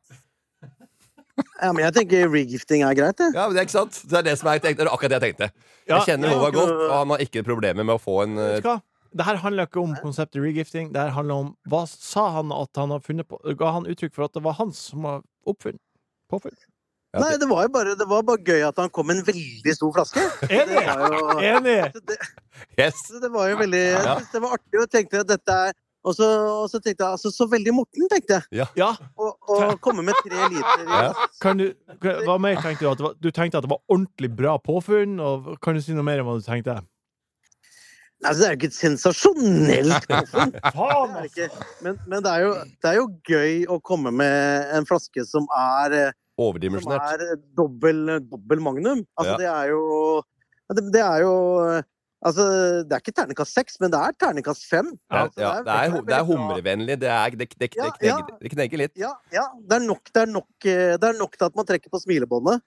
Ja, men jeg tenker regifting er greit, jeg.
Ja, men Det er ikke sant? Det er det som jeg tenkte, det er akkurat det jeg tenkte.
Ja,
jeg kjenner
ja.
Håvard godt, og han har ikke problemer med å få en
Vet
eh,
du hva? Det her handler ikke om konseptet regifting. Det her handler om hva sa han at han har funnet på Ga han uttrykk for at det var han som har oppfunnet? Påfunnet?
ja,
Nei, det var jo bare, det var bare gøy at han kom med en veldig stor flaske. Det
Enig!
var jo
Enig!
det,
Yes!
Så det var jo veldig Jeg
Ja.
synes det var artig, og tenkte at dette er og så, og så tenkte jeg altså så veldig Morten, tenkte jeg.
Ja,
Å å komme med tre liter i
Ja.
kan du kan, Hva mer tenkte du? At det var, du tenkte at det var ordentlig bra påfunn? Og kan du si noe mer om hva du tenkte?
Nei, altså, det er jo ikke et sensasjonelt påfunn.
Faen!
Det er ikke- Men, men det, er jo, det er jo gøy å komme med en flaske som er, eh, som
Overdimensjonert.
er eh, dobbel, dobbel magnum.
Ja.
Altså, det er jo ja, det, det er jo eh, Altså, det er ikke terningkast seks, men det er terningkast fem.
Ja,
Altså,
ja, det er,
veldig
det er
bra.
humrevennlig. Det, er, det, det, det,
Ja, ja.
knegger, det knegger litt.
Ja, ja. Det er, nok, det, er nok, eh, det er nok til at man trekker på smilebåndet.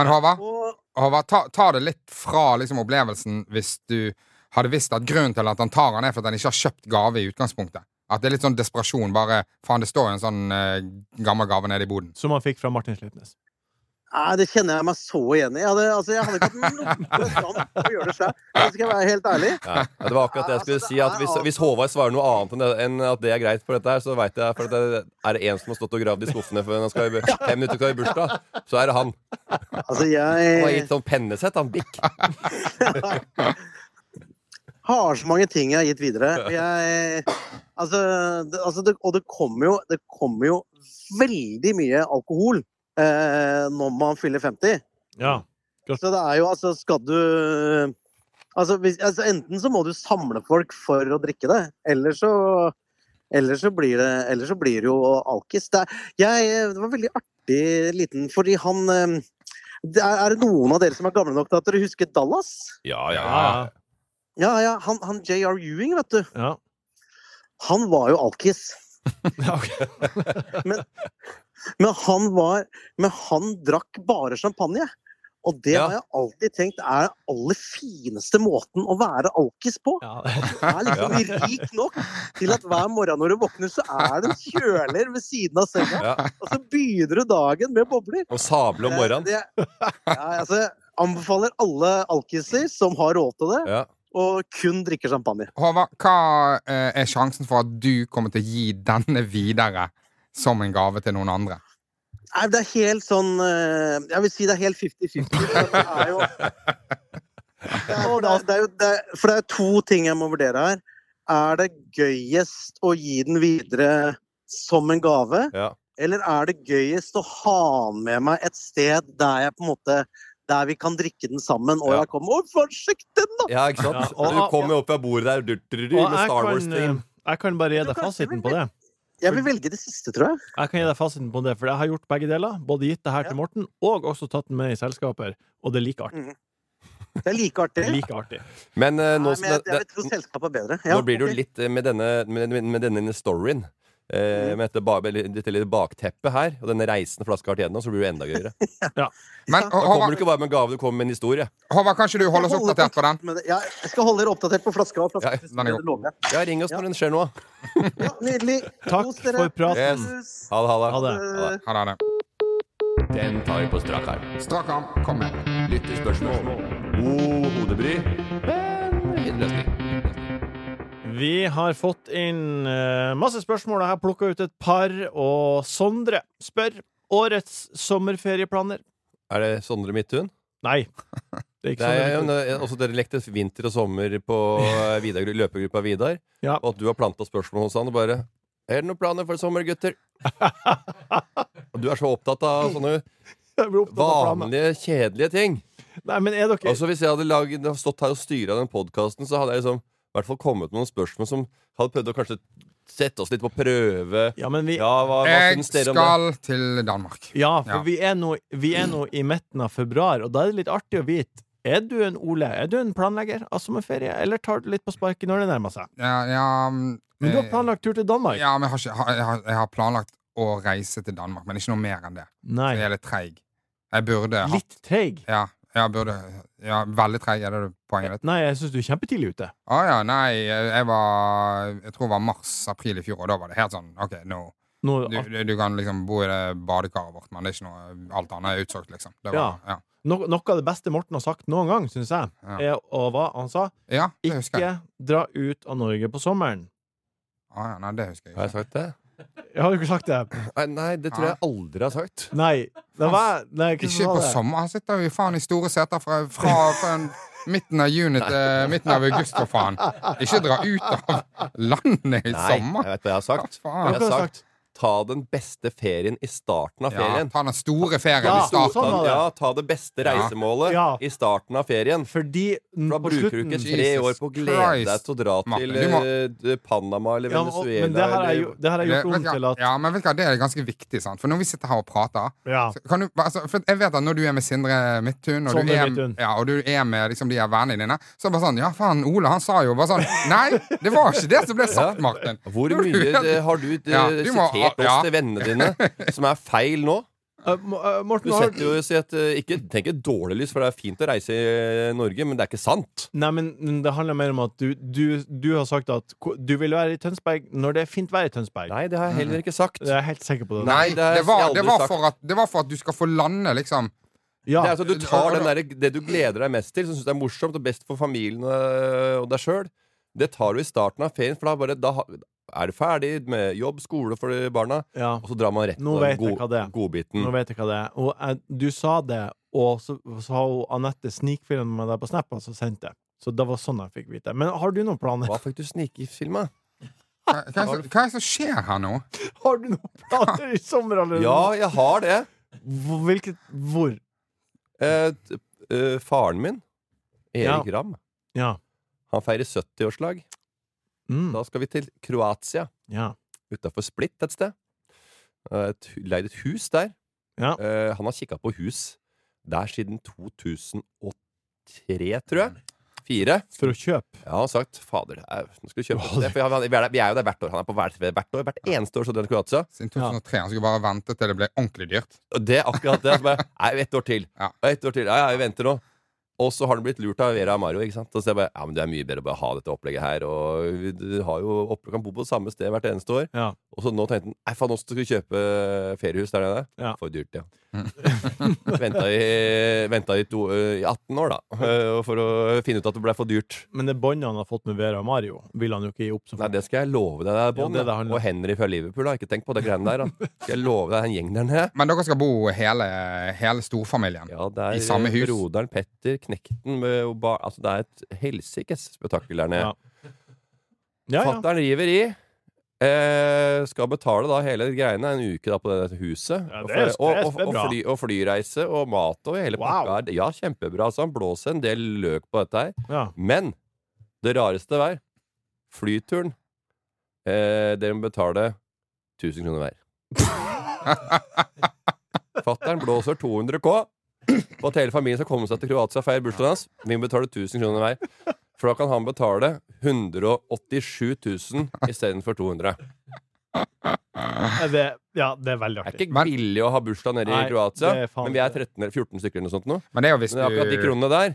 Men Håvard,
Og
Håvard ta, ta det litt fra liksom, opplevelsen hvis du hadde visst at grunnen til at han tar han er for at han ikke har kjøpt gave i utgangspunktet. At det er litt sånn desperasjon. Bare faen, det står jo en sånn eh, gammel gave nede i boden.
Som han fikk fra Martin Sleipnes.
Nei, det kjenner jeg meg så igjen i. Jeg hadde, altså, jeg hadde ikke hatt noe sjanse til å gjøre det selv. Det skal jeg være helt ærlig.
Ja, ja, det var akkurat det jeg skulle
Altså,
si.
det
At
er
hvis,
alt-
hvis Håvard svarer noe annet enn, det, enn at det er greit for dette her, så veit jeg for at det er det en som har stått og gravd i skuffene for han skal i, bu- fem minutter til i bursdag, så er det han.
Altså,
Han har gitt
jeg
sånn pennesett, han Bikk.
har så mange ting jeg har gitt videre. Og jeg Altså, det, altså det, og det kommer jo, det kommer jo veldig mye alkohol eh, når man fyller 50.
Ja.
Så det er jo altså Skal du Altså, hvis, altså enten så må du samle folk for å drikke det, eller så Eller så blir det, eller så blir det jo alkis. Det, er- jeg, det var veldig artig liten Fordi han eh, det er, er det noen av dere som er gamle nok til at dere husker Dallas?
Ja,
Ja,
ja.
ja.
Ja, ja. Han, han J.R. Ewing, vet du.
ja.
Han var jo alkis.
ja ok.
Men han var Men han drakk bare champagne. Og det
Ja.
har jeg alltid tenkt er den aller fineste måten å være alkis på.
ja.
er liksom rik nok til at hver morgen når du våkner, så er det en kjøler ved siden av senga.
ja.
Og så begynner du dagen med bobler.
Og sable om morgenen.
Eh, det- ja, altså, jeg anbefaler alle alkiser som har råd til det,
Ja.
og kun drikker champagne.
Håvard, hva eh, er sjansen for at du kommer til å gi denne videre som en gave til noen andre?
Nei, det er helt sånn eh, Jeg vil si det er helt 50-50. for Det er jo det er, for det, er, det er jo det er, For det er to ting jeg må vurdere her. Er det gøyest å gi den videre som en gave?
Ja.
Eller er det gøyest å ha den med meg et sted der jeg på en måte der vi kan drikke den sammen, og
Ja.
jeg kommer Å, forsiktig, den, da!
ja, ikke sant?
Ja, og-
Du kommer opp fra bordet der du, du, du,
Og
med
jeg
Star
kan,
Wars-ting.
eh, jeg kan bare gi
Men du
deg
kan ikke
fasiten på det.
Jeg vil velge det siste, tror jeg.
Jeg kan gi deg fasiten på det, for jeg har gjort begge deler. Både gitt det her til Morten, og også tatt den med i selskaper. Og det er like artig.
Det er like artig.
Det er like artig.
Men eh, nå
Nei,
som
men jeg,
det,
jeg vil tro
det,
selskapet er bedre.
Nå blir det
ok.
jo litt eh, med denne, med, med denne storyen. Eh, med dette, ba, dette lille bakteppet her og denne reisen flaska har vært gjennom, så blir det jo enda gøyere. Da
Men Hå-
kommer du
Håvard,
ikke bare med en gave, du kommer med en historie.
Håvard, kan ikke du holde oss
Jeg holder
oppdatert på den?
kontakt med det. Ja, jeg skal holde dere oppdatert på flaska. Og flaska
Ja,
den er god.
det lover jeg.
Ja, Ring oss når det skjer noe.
Ja, nydelig.
Takk
Kos dere.
for praten.
Yes.
Ha det, ha det.
Ha det.
Ha det.
Ha det.
Den tar vi på strak arm.
Strak arm. Kom med.
Lyttespørsmål. God hodebry. Men fin løsning.
Vi har fått inn eh, masse spørsmål. Jeg har plukka ut et par, og Sondre spør årets sommerferieplaner.
Er det Sondre Midthun?
Nei. Det er
Det
ikke
er
Sondre.
jo en- eh, også dere lekte vinter og sommer på eh, Vidar, løpegruppa Vidar.
Ja.
Og at du har planta spørsmål hos han og bare Er det noen planer for sommer, gutter? og du er så opptatt av sånne
Jeg blir opptatt av planer.
vanlige, kjedelige ting.
Nei, men er dere
Altså Hvis jeg hadde laget, stått her og styra den podkasten, så hadde jeg liksom i hvert fall kommet med noen spørsmål som hadde prøvd å kanskje sette oss litt på prøve.
Ja, men vi
Ja, hva, hva
Jeg
syns dere om det?
skal til Danmark.
Ja, for
Ja.
Vi, er nå, vi er nå i midten av februar, og da er det litt artig å vite Er du en Ole? Er du en planlegger av sommerferie, eller tar du litt på sparket når det nærmer seg?
Ja, ja, mm,
Men du har
eh,
planlagt tur til Danmark?
Ja, men jeg har, ikke, jeg har- jeg, har, jeg har planlagt å reise til Danmark, men ikke noe mer enn det. Så jeg
Nei.
er litt treig. Jeg burde hatt-
Litt treig?
Ja, jeg burde Ja, veldig treig er det du- poenget ditt.
Nei, jeg syns du er kjempetidlig ute.
Å ja, nei, jeg jeg var Jeg tror det var mars-april i fjor, og da var det helt sånn OK, nå
Nå,
du, du, du kan liksom bo i det badekaret vårt, men det er ikke noe Alt annet er utsolgt, liksom. Det
Ja.
var, ja.
no, noe av det beste Morten har sagt noen gang, syns jeg,
Ja.
er å hva han sa
ja, det husker jeg.
Ikke dra ut av Norge på sommeren.
Å ja, nei, det husker jeg
Har jeg
ikke.
sagt det?
Jeg har jo ikke sagt det.
Nei, nei, det tror jeg aldri har sagt.
Nei. Det var, nei hva
Ikke
sa
på
det?
sommer. Han sitter jo faen i store seter fra, fra, fra en- midten av juni til midten av august, for faen. Ikke dra ut av landet i
Nei, jeg
sommer!
vet hva jeg har sagt.
Hva faen?
Jeg har
Hva har du
sagt ta den beste ferien i starten av
Ja,
ferien.
ta den store ferien
Ja,
i starten.
sånn var det.
ja, ta det beste reisemålet
Ja.
i starten av ferien.
Fordi n-
Da
på
bruker du ikke
slutten
tre
Jesus
år på å glede
Christ,
deg til å dra
Martin.
til
Du må-
eh, d- Panama eller
ja, men-
Venezuela.
Men det har jeg,
eller-
jo- det har jeg
Det-
gjort
vet
om
du hva?
til at
Ja, men vet du hva, det er ganske viktig, sant? For når vi sitter her og prater
Ja.
så kan du, altså, for Jeg vet at når du er med Sindre Midthun, og, du
Sondre
er,
Midthun.
ja, og du er med liksom, de her vennene dine, så er det bare sånn Ja, faen, Ole, han sa jo bare sånn Nei, det var ikke det som ble sagt, Martin.
Hvor
Når du-
mye eh, har du, eh,
Ja, du må-
sitert oss
ja.
til vennene dine som er feil nå?
Eh, Mo- eh, Morten,
Du
har
setter jo si at, eh, ikke, Tenk et dårlig lys, for det er fint å reise i eh, Norge, men det er ikke sant.
Nei, men det handler mer om at du, du, du har sagt at ko- du vil være i Tønsberg når det er fint vær i Tønsberg.
Nei, det har jeg heller ikke sagt.
Jeg er helt sikker på det.
Nei,
Nei,
det har
det var,
jeg
det,
aldri
var
sagt.
for at, det var for at du skal få lande, liksom.
Ja,
Det er altså, du tar den der, det du gleder deg mest til, som syns er morsomt og best for familien øh, og deg sjøl, det tar du i starten av ferien, for da, bare, da ha- er du ferdig med jobb, skole for de barna,
ja.
og så drar man rett
Nå
på
vet
den
jeg hva det er.
godbiten.
Nå vet jeg hva det er. Og jeg, du sa det, og så så har hun Anette snikfilmet med deg på Snap, og så sendte jeg. Så det var sånn jeg fikk vite. Men har du noen planer?
Hva fikk du snikfilma?
Hva, hva, er det- hva er det som skjer her nå?
Har du noen planer i sommer allerede?
Ja, jeg har det.
Hvor- Hvilket Hvor?
Eh, t- eh, faren min, Erik Ramm,
Ja.
han feirer 70-årslag.
Mm.
Da skal vi til Kroatia,
ja.
utafor Split et sted. Eh, Et, hu- leid et hus der.
Ja.
Eh, han har kikka på hus der siden 2003, tror jeg. Fire.
For å kjøpe.
Ja, han har sagt 'fader, det er- nå skal vi kjøpe det'. For han, vi, er der, vi er jo der hvert år. Han er på hvert, hvert år. Hvert eneste år så drar han til Kroatia.
Siden 2003. Han skulle bare vente til det ble ordentlig dyrt.
Og det er akkurat det. Så bare, Nei, ett år til.
Ja.
Ett år til. Ja, ja, vi venter nå. Og så har han blitt lurt av Vera og Mario. ikke sant? Og så jeg bare, ja, men Det er mye bedre å bare ha dette opplegget her. Og vi du har jo opp, kan bo på samme sted hvert eneste år.
Ja.
Og så nå tenkte han nei faen, nå skal vi kjøpe eh, feriehus der nede.
Ja.
For dyrt, ja. venta i, venta i, to, i 18 år, da. eh, For å finne ut at det ble for dyrt.
Men det båndet han har fått med Vera og Mario, vil han jo ikke gi opp som
Nei, det skal jeg love deg. Det er
Ja, det
Bond,
er det
ja.
han-
og Henry fra Liverpool, da. Ikke tenk på det greiene der. Da. Skal jeg love deg en gjeng der nede?
Men dere skal bo hele, hele storfamilien.
Ja, det er
I samme hus.
broderen Petter, knekten med, og bar, altså, Det er et helsikes spetakkel der nede.
Ja. Ja, ja.
Fatter'n river i. Eh, skal betale da hele greiene en uke da på det huset.
Ja, det er-
og,
det er
og, og,
bra.
fly, og flyreise og mat og hele
Wow.
pakka. her. Ja, kjempebra. Altså, han blåser en del løk på dette her.
ja.
Men det rareste var flyturen. Eh, dere må betale 1000 kroner hver. Fattern blåser 200 K på at hele familien skal komme seg til Kroatia og feire bursdagen hans. Vi må betale 1000 kroner hver. For da kan han betale 187 000 istedenfor 200.
Er Eh, Det, ja, det er veldig
Det er
artig.
ikke billig å ha bursdag nede
Nei,
i Kroatia,
det er faen
men vi er
ikke
13 eller 14 stykker eller noe sånt nå.
Men det er jo hvis
Men akkurat de
du,
kronene der,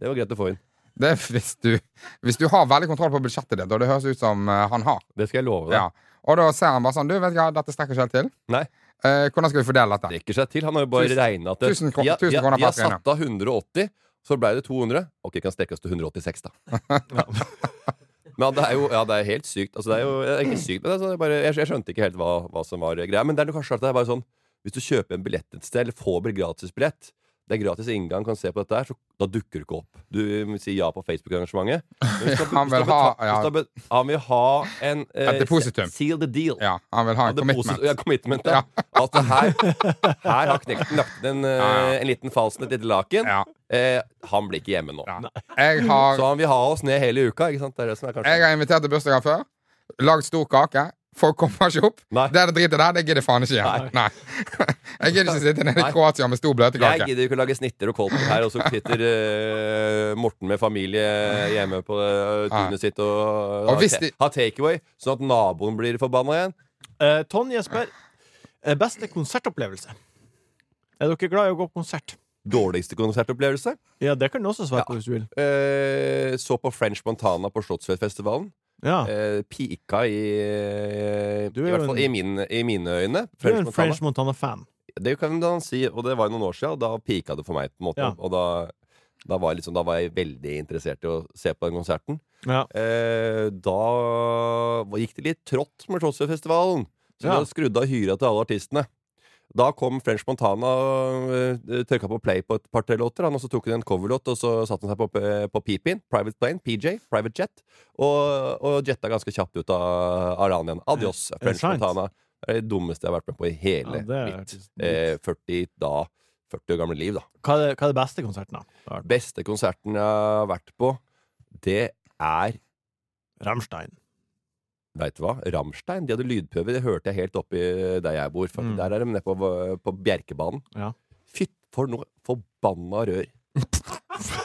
det var greit å få inn.
det er hvis du Hvis du har veldig kontroll på budsjettet ditt, og det høres ut som eh, han har,
Det skal jeg love deg.
ja. og da ser han bare sånn Du, vet du hva, dette strekker ikke helt til.
Nei.
Eh, hvordan skal vi fordele dette?
strekker seg til. Han har jo bare
Tusen-
regna at det-
tusen kro-
vi har-
tusen
vi har-
kroner
Vi har
per trene.
satt av 180, så ble det 200. Ok, kan strekke oss til 186, da. Men det er jo ja, det er helt sykt. Altså, det er jo det er ikke sykt, men det er sånn, jeg, bare, jeg, jeg skjønte ikke helt hva, hva som var greia. Men det er jo kanskje at det er bare sånn hvis du kjøper en billett et sted, eller får gratisbillett det er gratis inngang, kan se på dette her, så da dukker du ikke opp. Du sier ja på Facebook-arrangementet. Men hvis du-
Han
hvis du
vil ha-
beta-
ja.
hvis du be- Han vil ha en eh,
Et depositum.
Seal the deal.
Ja, han vil ha
Ja,
en
det
commitment.
posit- Ja, commitment ja. At det her, her har knekten lagt en, eh,
Ja, ja.
en liten falsen et lite laken.
Ja.
Eh, han blir ikke hjemme nå.
Ja. Jeg har
Så han vil ha oss ned hele uka. Ikke sant? Det er det som er kanskje
Jeg har invitert til bursdager før. Lagd stor kake. Folk kommer ikke opp.
Nei.
Det er det dritet der, det gidder faen ikke jeg. Nei. Jeg gidder ikke sitte nede i
Nei.
Kroatia med stor
Jeg
bløtkake.
gidder ikke å lage snitter og kolben her, og så sitter eh, Morten med familie hjemme på eh,
Nei.
tunet sitt og,
Og
har,
hvis de-
ha takeaway, sånn at naboen blir forbanna igjen.
Eh, Tonje spør eh, beste konsertopplevelse. Er dere glad i å gå på konsert?
Dårligste konsertopplevelse.
Ja, det kan du også svare på hvis du vil.
Eh, så på French Montana på Slottsfjellfestivalen.
Ja.
Eh, pika i eh,
Ah. Du er
I
jo
hvert fall
en-
i, min, i mine øyne.
Du er
French
en
Montana.
French Montana-fan.
Det kan man si, og det var jo noen år siden, og da pika det for meg. på en måte
Ja.
Og da, da, var jeg liksom, da var jeg veldig interessert i å se på den konserten.
Ja.
Eh, da var- gikk det litt trått med Slottsfjellfestivalen, så
Ja.
da skrudde av hyra til alle artistene. Da kom French Montana og eh, trykka på play på et par-tre låter. Han også tok hun en coverlåt, og så satte han seg på, eh, på pipin. Private Plane, PJ, Private Jet. Og, og jetta ganske kjapt ut av Aranian. Adios,
Er det
French
sant?
Montana. Det er det dummeste jeg har vært med på i hele
Ja, det er
mitt
faktisk
eh, 40, da, 40 år gamle liv. da
Hva er, det- hva er det beste konserten, da?
Beste konserten jeg har vært på, det er
Ramstein.
Vet du hva? Ramstein. De hadde lydprøve. Det hørte jeg helt oppi der jeg bor. For
Mm.
Der er de nede på, på Bjerkebanen.
Ja.
Fytt for noe forbanna rør.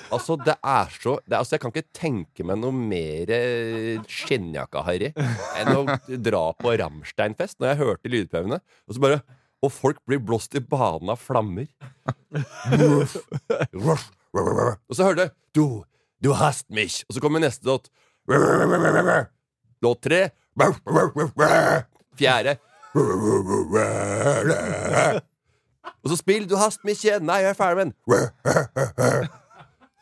altså, det er så det, er- altså, Jeg kan ikke tenke meg noe mer eh, skinnjakka-harry enn å dra på Ramstein-fest når jeg hørte lydprøvene. Og så bare Og folk blir blåst i banen av flammer. Ruff, ruff, ruff, ruff. og så hørte jeg Du, du hast mich. Og så kommer neste låt. Ruff, ruff, ruff, ruff, ruff. Låt tre. Ruff, ruff, ruff, ruff. Fjerde. Ruff, ruff, ruff, ruff, ruff. Og så spill Du hast mich igjen. Nei, jeg er ferdig med den. Ruff, ruff, ruff,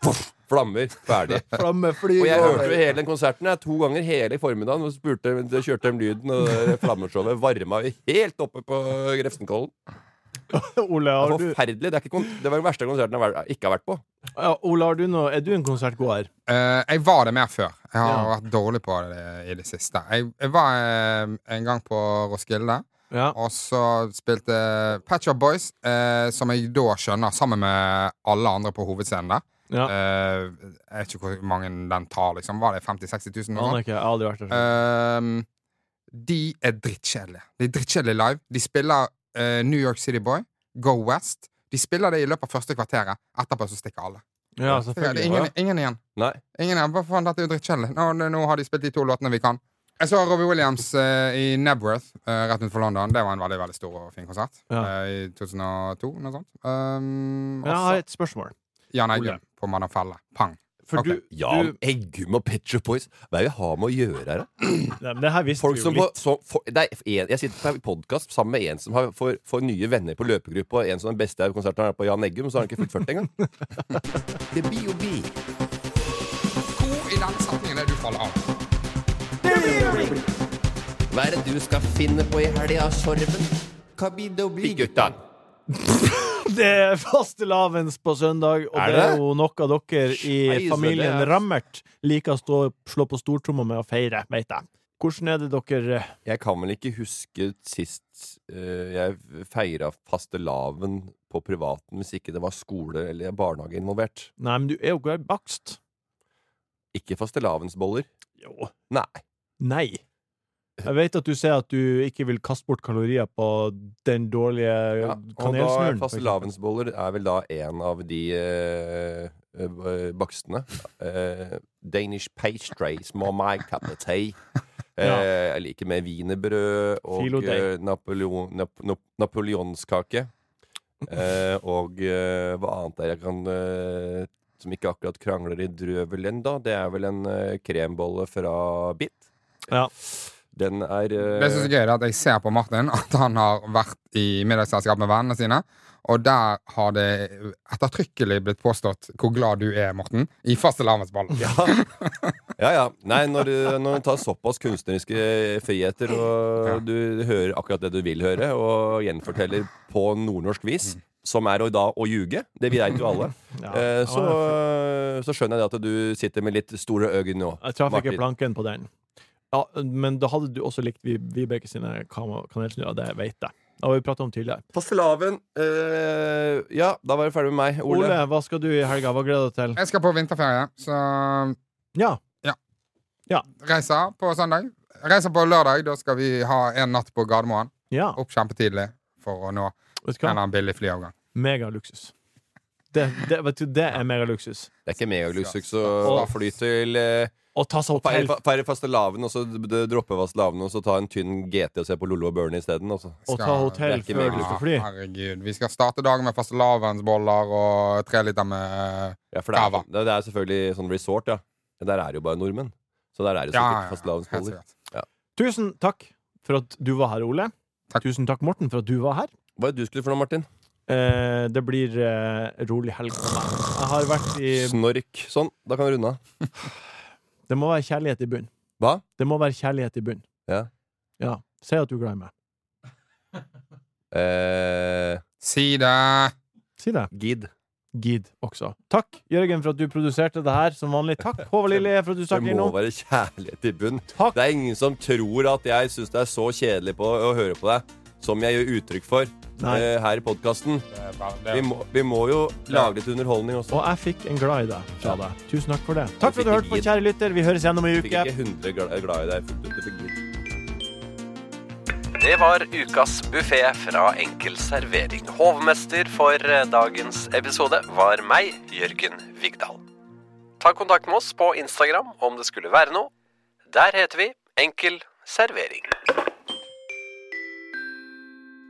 ruff. Flammer. Ferdig.
Flammefly
Og jeg hørte jo hele den konserten jeg, to ganger hele formiddagen. Og spurte, da kjørte de lyden, og det flammeshowet varma jo helt oppe på Grefsenkollen.
Ole,
Det
har
var
du,
Forferdelig. Det, er ikke kon det var den verste konserten jeg har vært- ikke har vært på.
ja, Ole, har du noe, er du en konsertgåer?
Eh, jeg var det mer før. Jeg har
Ja.
vært dårlig på det i det siste. Jeg, jeg var eh, en gang på Roskilde,
Ja.
og så spilte Patch Up Boys, eh, som jeg da skjønner, sammen med alle andre på hovedscenen der.
ja.
Eh, jeg vet ikke hvor mange den tar, liksom. Var det 50 000-60 000? Noe
Aner ikke.
sånt?
Jeg har aldri vært der.
Ehm, de er drittkjedelige. De er drittkjedelige live. De spiller eh, New York City Boy, Go West. De spiller det i løpet av første kvarteret. Etterpå så stikker alle.
Ja,
eh, Det er
selvfølgelig.
ingen, ingen igjen.
Nei.
Ingen igjen. Hva faen, dette er jo drittkjedelig. Nå, nå- nå har de spilt de to låtene vi kan. Jeg så Robbie Williams eh, i Nebworth eh, rett utenfor London. Det var en veldig veldig stor og fin konsert.
Ja.
eh, I 2002, noe sånt. Um,
Men jeg har et spørsmål.
Jan
Ole.
Eggum på Madam Felle. Pang.
For
Ok.
du,
Jan
du
Eggum og Petcher Boys. Hva er det vi har med å gjøre her, da?
Nei, men Det her visste
Folk
vi jo
som på,
litt.
så, for, det er en, jeg sitter på en podkast sammen med en som har, får, får nye venner på løpegruppa, og en som den beste er på konserten er på Jan Eggum, så har han ikke fullført det engang. Det blir jo bi.
Hvor i den setningen er du faller av?
Hva er det du skal finne på i helga, Sorven? Hva blir det å bli, gutta?
Det er fastelavns på søndag, og
Er
det er
det?
jo noe dere i
Scheisse,
familien
det er-
Rammert liker å stå, slå på stortromma med å feire, veit jeg. Hvordan er det dere
Jeg kan vel ikke huske sist eh, jeg feira fastelavn på privaten hvis ikke det var skole eller barnehage involvert.
Nei, men du er jo ikke bakst.
Ikke fastelavnsboller.
Jo.
Nei.
Nei. Jeg vet at du sier at du ikke vil kaste bort kanorier på den dårlige
Ja, og da er
kanelsnurren. for eksempel.
fastelavnsboller er vel da en av de eh, eh, bakstene. Eh, Danish pastries, more my cup of tea. Eh, Jeg liker med wienerbrød
Filo
og
deig.
eh, Napoleon, nap, nap, napoleonskake. Eh, og eh, hva annet er jeg kan eh, Som ikke akkurat krangler i drøvelen, da. Det er vel en eh, krembolle fra Bit.
Ja.
Den er eh,
Det som er så gøy, er at jeg ser på Martin at han har vært i middagsselskap med vennene sine. Og der har det ettertrykkelig blitt påstått hvor glad du er, Morten, i fastelavnsballen.
Ja. ja, ja. Nei, når du, når du tar såpass kunstneriske friheter, og du hører akkurat det du vil høre, og gjenforteller på nordnorsk vis, som er å da å ljuge, det vet jo alle,
Mm. Ja.
eh, så,
Ja, jeg-
så skjønner jeg det at du sitter med litt store øyne nå.
Jeg traff ikke
Martin.
planken på den. Ja, men da hadde du også likt Vi- Vibeke sine kam- kanelsnurrer, det vet jeg. Det har vi pratet om tidligere.
Fastelavn. Eh, ja, da var du ferdig med meg,
Ole,
Ole.
hva skal du i helga? Hva gleder du deg til?
Jeg skal på vinterferie, så
Ja,
reiser på søndag. Reiser på lørdag. Da skal vi ha en natt på Gardermoen.
ja.
Opp kjempetidlig for å nå
Vet du hva?
Eller en billig flyavgang.
Megaluksus. Det, det, vet du, det er megaluksus.
Det er ikke megaluksus å
Skal-
fly til eh,
Å ta seg hotell
Feire feire fastelavn, og så d- d- droppe fastelavn, og så ta en tynn GT og se på Lollo og Bernie isteden. altså.
og ta hotell
Det er ikke
før du skal fly.
Ja, herregud. Vi skal starte dagen med fastelavnsboller og tre liter med
Ja, for det er,
Cava.
det det er selvfølgelig sånn resort, ja. Men der er det jo bare nordmenn. Så der er det jo
Ja,
sikkert
ja, ja. Helt
fastelavnsboller.
sikkert.
Tusen takk for at du var her, Ole.
Takk.
Tusen takk, Morten, for at du var her.
Hva er det du skulle for noe, Martin?
Eh, det blir eh, rolig helg for meg. Jeg har vært i
Snork. Sånn, da kan vi runde av.
Det må være kjærlighet i bunn.
Hva?
Det må være kjærlighet i bunn.
Ja.
Ja. Si at du er glad i meg.
Eh,
Si det!
Si det.
Gid.
Gid også. Takk, Jørgen, for at du produserte det her som vanlig. Takk, Håvard Lilje, for at du
Det
stakk
må
innom.
være kjærlighet i bunn.
Takk.
Det er ingen som tror at jeg syns det er så kjedelig på, å høre på deg som jeg gjør uttrykk for
Nei.
eh, her i podkasten.
Det er bare- det
Vi,
er-
må- vi må jo lage litt underholdning også.
Og jeg fikk en glad i deg fra deg. Tusen takk for det. Takk for at du
fikk
hørte på,
gid.
kjære lytter. Vi høres igjen om ei
Jeg fikk
uke.
ikke 100 glad, glad i deg fullt ut. Jeg fikk litt.
Det var ukas buffé fra Enkel servering. Hovmester for eh, dagens episode var meg, Jørgen Vigdal. Ta kontakt med oss på Instagram om det skulle være noe. Der heter vi Enkel servering.